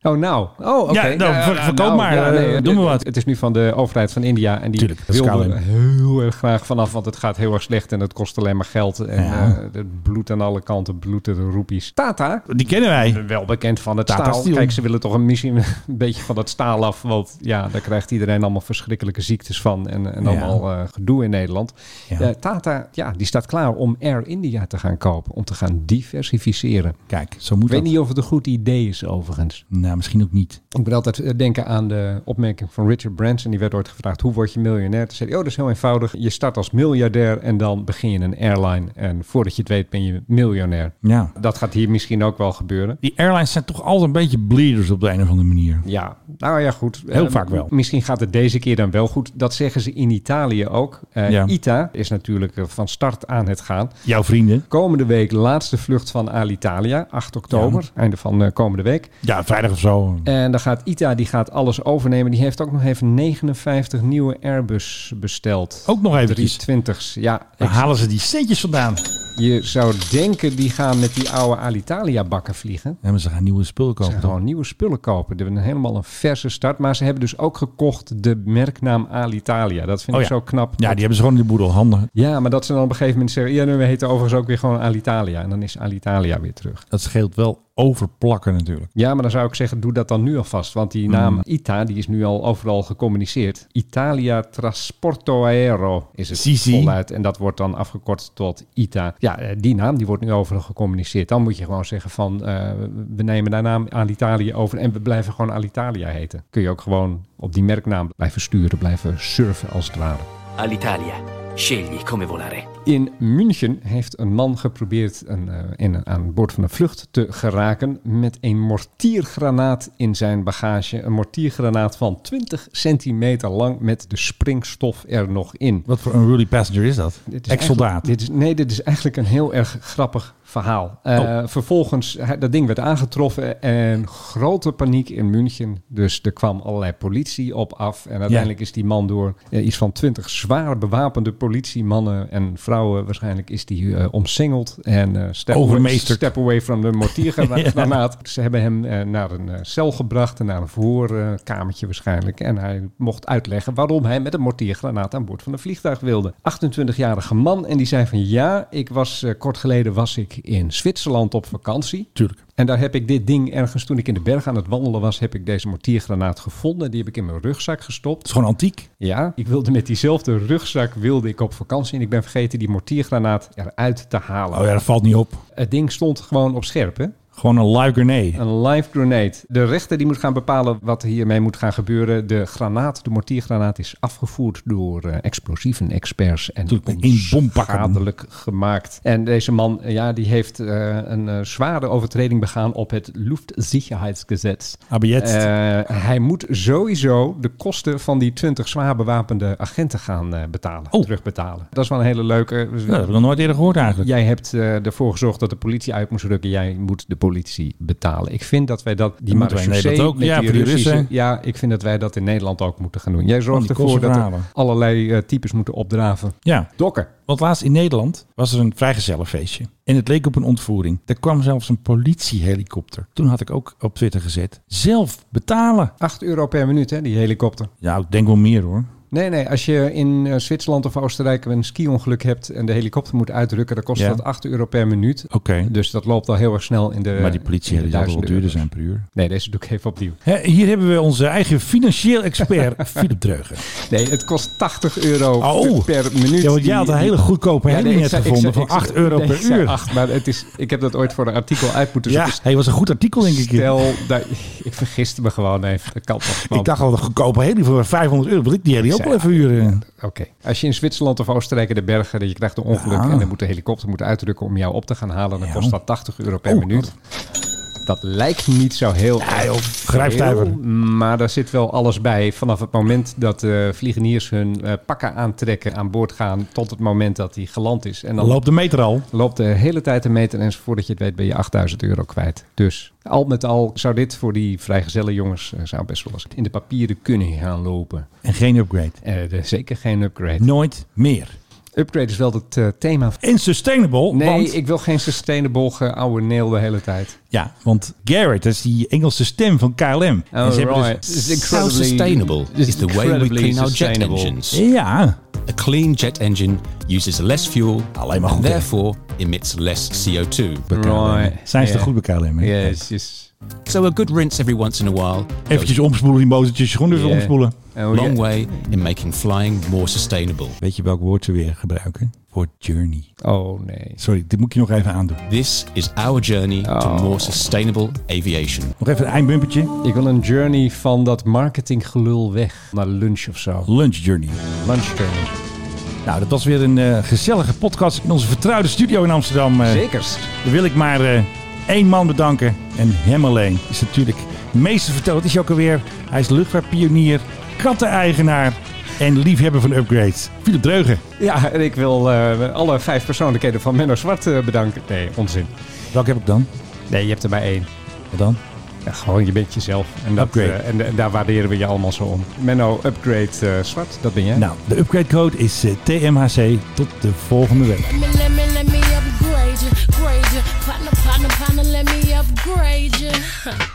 Speaker 3: Oh, nou. Oh, oké.
Speaker 2: Ja, nou, ver- verkoop maar. Eh, doen
Speaker 3: het-
Speaker 2: we wat.
Speaker 3: Het is nu van de overheid van India. En die
Speaker 2: Tuurlijk, dat is
Speaker 3: wil
Speaker 2: KLM.
Speaker 3: er heel erg graag vanaf, want het gaat heel erg slecht en het kost alleen maar geld. En
Speaker 2: Ja.
Speaker 3: eh, het bloed aan alle kanten, bloed de roepies. Tata,
Speaker 2: Die kennen wij.
Speaker 3: wel bekend van het
Speaker 2: Tata
Speaker 3: staal.
Speaker 2: Steel.
Speaker 3: Kijk, ze willen toch een, misschien een beetje van dat staal af. Want ja, daar krijgt iedereen allemaal verschrikkelijke ziektes van. En, en
Speaker 2: Ja.
Speaker 3: allemaal eh, gedoe in Nederland.
Speaker 2: Ja.
Speaker 3: Eh, Tata, ja, die staat klaar om Air India te gaan kopen. Om te gaan diversificeren.
Speaker 2: Kijk, zo moet
Speaker 3: Ik weet
Speaker 2: dat.
Speaker 3: niet of het een goed idee is overigens.
Speaker 2: Nou, misschien ook niet.
Speaker 3: Ik moet altijd eh, denken aan de opmerking van Richard Branson. Die werd ooit gevraagd, hoe word je miljonair? Toen zei hij, oh, dat is heel eenvoudig. Je start als miljardair en dan begin je een airline. En voordat je het weet ben je miljonair.
Speaker 2: Ja.
Speaker 3: Dat gaat hier misschien ook wel gebeuren.
Speaker 2: Die airlines zijn toch altijd een beetje bleeders op de een of andere manier.
Speaker 3: Ja, nou ja, goed.
Speaker 2: Heel
Speaker 3: Eh,
Speaker 2: vaak wel.
Speaker 3: Misschien gaat het deze keer dan wel goed. Dat zeggen ze in Italië ook. Eh,
Speaker 2: Ja.
Speaker 3: ITA is natuurlijk eh, van start aan het gaan.
Speaker 2: Jouw vrienden.
Speaker 3: Komende week laatste vlucht van Alitalia, 8 oktober, einde van eh, komende week.
Speaker 2: Ja, vrijdag of zo.
Speaker 3: En dan gaat ITA, die gaat alles overnemen. Die heeft ook nog even 59 nieuwe Airbus besteld.
Speaker 2: Ook nog eventjes.
Speaker 3: 320's, ja.
Speaker 2: Waar
Speaker 3: Ik-
Speaker 2: halen ze die centjes vandaan?
Speaker 3: Je zou denken, die gaan met die oude Alitalia bakken vliegen.
Speaker 2: Ja, maar ze gaan nieuwe spullen
Speaker 3: Ze
Speaker 2: kopen.
Speaker 3: gaan
Speaker 2: toch?
Speaker 3: gewoon nieuwe spullen kopen. Ze hebben helemaal een verse start. Maar ze hebben dus ook gekocht de merknaam Alitalia. Dat vind
Speaker 2: Oh
Speaker 3: ik
Speaker 2: ja.
Speaker 3: zo knap.
Speaker 2: Ja, die hebben ze gewoon in de boedel handen.
Speaker 3: Ja, maar dat ze dan op een gegeven moment zeggen... Ja, we heten overigens ook weer gewoon Alitalia. En dan is Alitalia weer terug.
Speaker 2: Dat scheelt wel overplakken natuurlijk.
Speaker 3: Ja, maar dan zou ik zeggen, doe dat dan nu alvast. Want die naam ITA, die is nu al overal gecommuniceerd. Italia Trasporto Aero is het
Speaker 2: Sisi.
Speaker 3: voluit. En dat wordt dan afgekort tot ITA. Ja, eh, die naam die wordt nu overal gecommuniceerd. Dan moet je gewoon zeggen van, eh, we nemen daar naam Alitalia over... en we blijven gewoon Alitalia heten. Kun je ook gewoon op die merknaam blijven sturen, blijven surfen als het ware.
Speaker 14: All'Italia, scegli come volare.
Speaker 3: In München heeft een man geprobeerd een, eh, in, een- aan boord van een vlucht te geraken met een mortiergranaat in zijn bagage. Een mortiergranaat van 20 centimeter lang met de springstof er nog in.
Speaker 2: Wat voor een really passenger is dat?
Speaker 3: Dit is eigenlijk-
Speaker 2: Ex-soldaat.
Speaker 3: Dit is, nee, dit is eigenlijk een heel erg grappig verhaal. Eh, Vervolgens, hij- dat ding werd aangetroffen en grote paniek in München. Dus er kwam allerlei politie op af. En uiteindelijk is die man door eh, iets van twintig zwaar bewapende politiemannen en vrouwen waarschijnlijk is die eh, omsingeld. En eh step, away,
Speaker 2: Overmeesterd.
Speaker 3: step away from the mortiergranaat. Ze hebben hem eh, naar een eh, cel gebracht en naar een verhoorkamertje waarschijnlijk. En hij mocht uitleggen waarom hij met een mortiergranaat aan boord van een vliegtuig wilde. 28-jarige man en die zei van ja, ik was, eh, kort geleden was ik in Zwitserland op vakantie.
Speaker 2: Tuurlijk.
Speaker 3: En daar heb ik dit ding ergens, toen ik in de berg aan het wandelen was, heb ik deze mortiergranaat gevonden. Die heb ik in mijn rugzak gestopt.
Speaker 2: Het is gewoon antiek.
Speaker 3: Ja, ik wilde met diezelfde rugzak wilde ik op vakantie en ik ben vergeten die mortiergranaat eruit te halen.
Speaker 2: Oh ja, dat valt niet op.
Speaker 3: Het ding stond gewoon op scherp, hè?
Speaker 2: Gewoon een live grenade.
Speaker 3: Een live grenade. De rechter die moet gaan bepalen wat hiermee moet gaan gebeuren. De granaat, de mortiergranaat, is afgevoerd door eh, explosieven-experts. En
Speaker 2: Natuurlijk, in bompakken.
Speaker 3: onschadelijk gemaakt. En deze man, eh, ja, die heeft eh, een eh, zware overtreding begaan op het Luftsicherheitsgesetz.
Speaker 2: Aber jetzt.
Speaker 3: Eh, hij moet sowieso de kosten van die 20 zwaar bewapende agenten gaan eh, betalen.
Speaker 2: Oh.
Speaker 3: Terugbetalen. Dat is wel een hele leuke.
Speaker 2: Ja, dat heb ik nog nooit eerder gehoord eigenlijk.
Speaker 3: Jij hebt eh, ervoor gezorgd dat de politie uit moest rukken. Jij moet de politie betalen. Ik vind dat wij dat... Die
Speaker 2: moeten wij in
Speaker 3: marechaussee
Speaker 2: Nederland ook.
Speaker 3: met
Speaker 2: Ja,
Speaker 3: die
Speaker 2: voor die
Speaker 3: Russische-
Speaker 2: Russen.
Speaker 3: Ja, ik vind dat wij dat in Nederland ook moeten gaan doen. Jij zorgt
Speaker 2: Van die
Speaker 3: ervoor dat er
Speaker 2: Kosovanen.
Speaker 3: allerlei eh, types moeten opdraven.
Speaker 2: Ja.
Speaker 3: Dokken.
Speaker 2: Want laatst in Nederland was er een vrijgezellenfeestje. En het leek op een ontvoering. Er kwam zelfs een politiehelikopter. Toen had ik ook op Twitter gezet. Zelf betalen.
Speaker 3: 8 euro per minuut, hè, die helikopter.
Speaker 2: Ja, ik denk wel meer hoor.
Speaker 3: Nee, nee. Als je in eh, Zwitserland of Oostenrijk een ski-ongeluk hebt en de helikopter moet uitrukken, dan kost
Speaker 2: Ja.
Speaker 3: dat 8 euro per minuut.
Speaker 2: Oké.
Speaker 3: Dus dat loopt al heel erg snel in de.
Speaker 2: Maar die politie
Speaker 3: eh, in de
Speaker 2: die zal wel
Speaker 3: duizenden
Speaker 2: duurder
Speaker 3: euro's.
Speaker 2: zijn per uur.
Speaker 3: Nee, deze doe ik even opnieuw.
Speaker 2: Hè, hier hebben we onze eigen financieel expert, Philip Dreugen.
Speaker 3: Nee, het kost 80 euro
Speaker 2: Oh.
Speaker 3: per minuut.
Speaker 2: Ja, want jij
Speaker 3: die-
Speaker 2: had een
Speaker 3: die-
Speaker 2: hele goedkope helling
Speaker 3: ik
Speaker 2: net
Speaker 3: zei- ik
Speaker 2: gevonden
Speaker 3: zei-
Speaker 2: voor
Speaker 3: ik zei-
Speaker 2: 8 euro
Speaker 3: nee,
Speaker 2: per
Speaker 3: ik zei
Speaker 2: uur.
Speaker 3: 8, maar het is, ik heb dat ooit voor een artikel uit moeten
Speaker 2: ja,
Speaker 3: zoeken.
Speaker 2: hij was een goed artikel, denk ik.
Speaker 3: Stel, daar, ik vergiste me gewoon even. Dat kan toch man.
Speaker 2: ik dacht al, een goedkope heli voor 500 euro. Wil ik die heli ook
Speaker 3: Zei,
Speaker 2: wel even huren?
Speaker 3: Oké. Als je in Zwitserland of Oostenrijk in de bergen, dat je krijgt een ongeluk
Speaker 2: Ja.
Speaker 3: en dan moet de helikopter moet uitrukken om jou op te gaan halen, dan kost dat 80 euro
Speaker 2: Oh,
Speaker 3: per minuut. Dat lijkt niet zo heel erg
Speaker 2: grijpstuiver.
Speaker 3: veel, Maar daar zit wel alles bij. Vanaf het moment dat eh vliegeniers hun eh, pakken aantrekken, aan boord gaan, tot het moment dat hij geland is. En
Speaker 2: Dan
Speaker 3: dan
Speaker 2: loopt de meter al.
Speaker 3: loopt de hele tijd de meter en voordat je het weet ben je 8000 euro kwijt. Dus al met al zou dit voor die vrijgezelle jongens eh, zou best wel eens in de papieren kunnen gaan lopen.
Speaker 2: En geen upgrade.
Speaker 3: Eh, er- zeker geen upgrade.
Speaker 2: Nooit meer.
Speaker 3: Upgrade is wel het eh, thema.
Speaker 2: En sustainable.
Speaker 3: Nee,
Speaker 2: want,
Speaker 3: ik wil geen sustainable ge- oude neel de hele tijd.
Speaker 2: Ja, want Garrett, dat is die Engelse stem van KLM.
Speaker 3: Oh,
Speaker 2: En ze hebben dus-
Speaker 3: right. It's incredibly-
Speaker 15: How dus- Nou, sustainable is the way we
Speaker 3: incredibly
Speaker 15: clean our jet
Speaker 3: sustainable.
Speaker 15: engines?
Speaker 2: Ja.
Speaker 15: A clean jet engine uses less fuel
Speaker 2: maar
Speaker 15: and
Speaker 2: goed, hè?
Speaker 15: therefore emits less CO2.
Speaker 3: Right.
Speaker 2: Zijn ze te goed bij KLM? hè?
Speaker 3: Yes, yes.
Speaker 15: So a good rinse every once in a while.
Speaker 2: Eventjes omspoelen die motortjes, schoenen weer
Speaker 15: Yeah.
Speaker 2: omspoelen.
Speaker 3: Oh,
Speaker 15: Long
Speaker 3: yeah.
Speaker 15: way in making flying more sustainable.
Speaker 2: Weet je welk woord ze weer gebruiken? Voor journey.
Speaker 3: Oh nee.
Speaker 2: Sorry, dit moet ik je nog even aandoen.
Speaker 15: This is our journey
Speaker 3: Oh.
Speaker 15: to more sustainable aviation.
Speaker 2: Nog even een eindbumpertje.
Speaker 3: Ik wil een journey van dat marketinggelul weg naar lunch of zo.
Speaker 2: Lunch journey.
Speaker 3: Lunch journey.
Speaker 2: Nou, dat was weer een eh, gezellige podcast in onze vertrouwde studio in Amsterdam. eh.
Speaker 3: Zekers.
Speaker 2: Dan wil ik maar eh, één man bedanken. En hem alleen is natuurlijk meester verteld. Wat is hij ook alweer? Hij is luchtvaartpionier, katteneigenaar en liefhebber van upgrades. Philip Dreugen.
Speaker 3: Ja, en ik wil eh, alle vijf persoonlijkheden van Menno Zwart eh, bedanken. Nee, onzin.
Speaker 2: Welke heb ik dan?
Speaker 3: Nee, je hebt er maar één.
Speaker 2: Wat dan?
Speaker 3: Ja, gewoon, je bent jezelf. En, dat,
Speaker 2: Upgrade.
Speaker 3: eh, en, en daar waarderen we je allemaal zo om. Menno Upgrade eh, Zwart, dat ben jij.
Speaker 2: Nou, de upgradecode is eh, TMHC. Tot de volgende week.
Speaker 11: Let me, let me, let me upgrade you, grade you. Partner, partner, partner, let me upgrade you.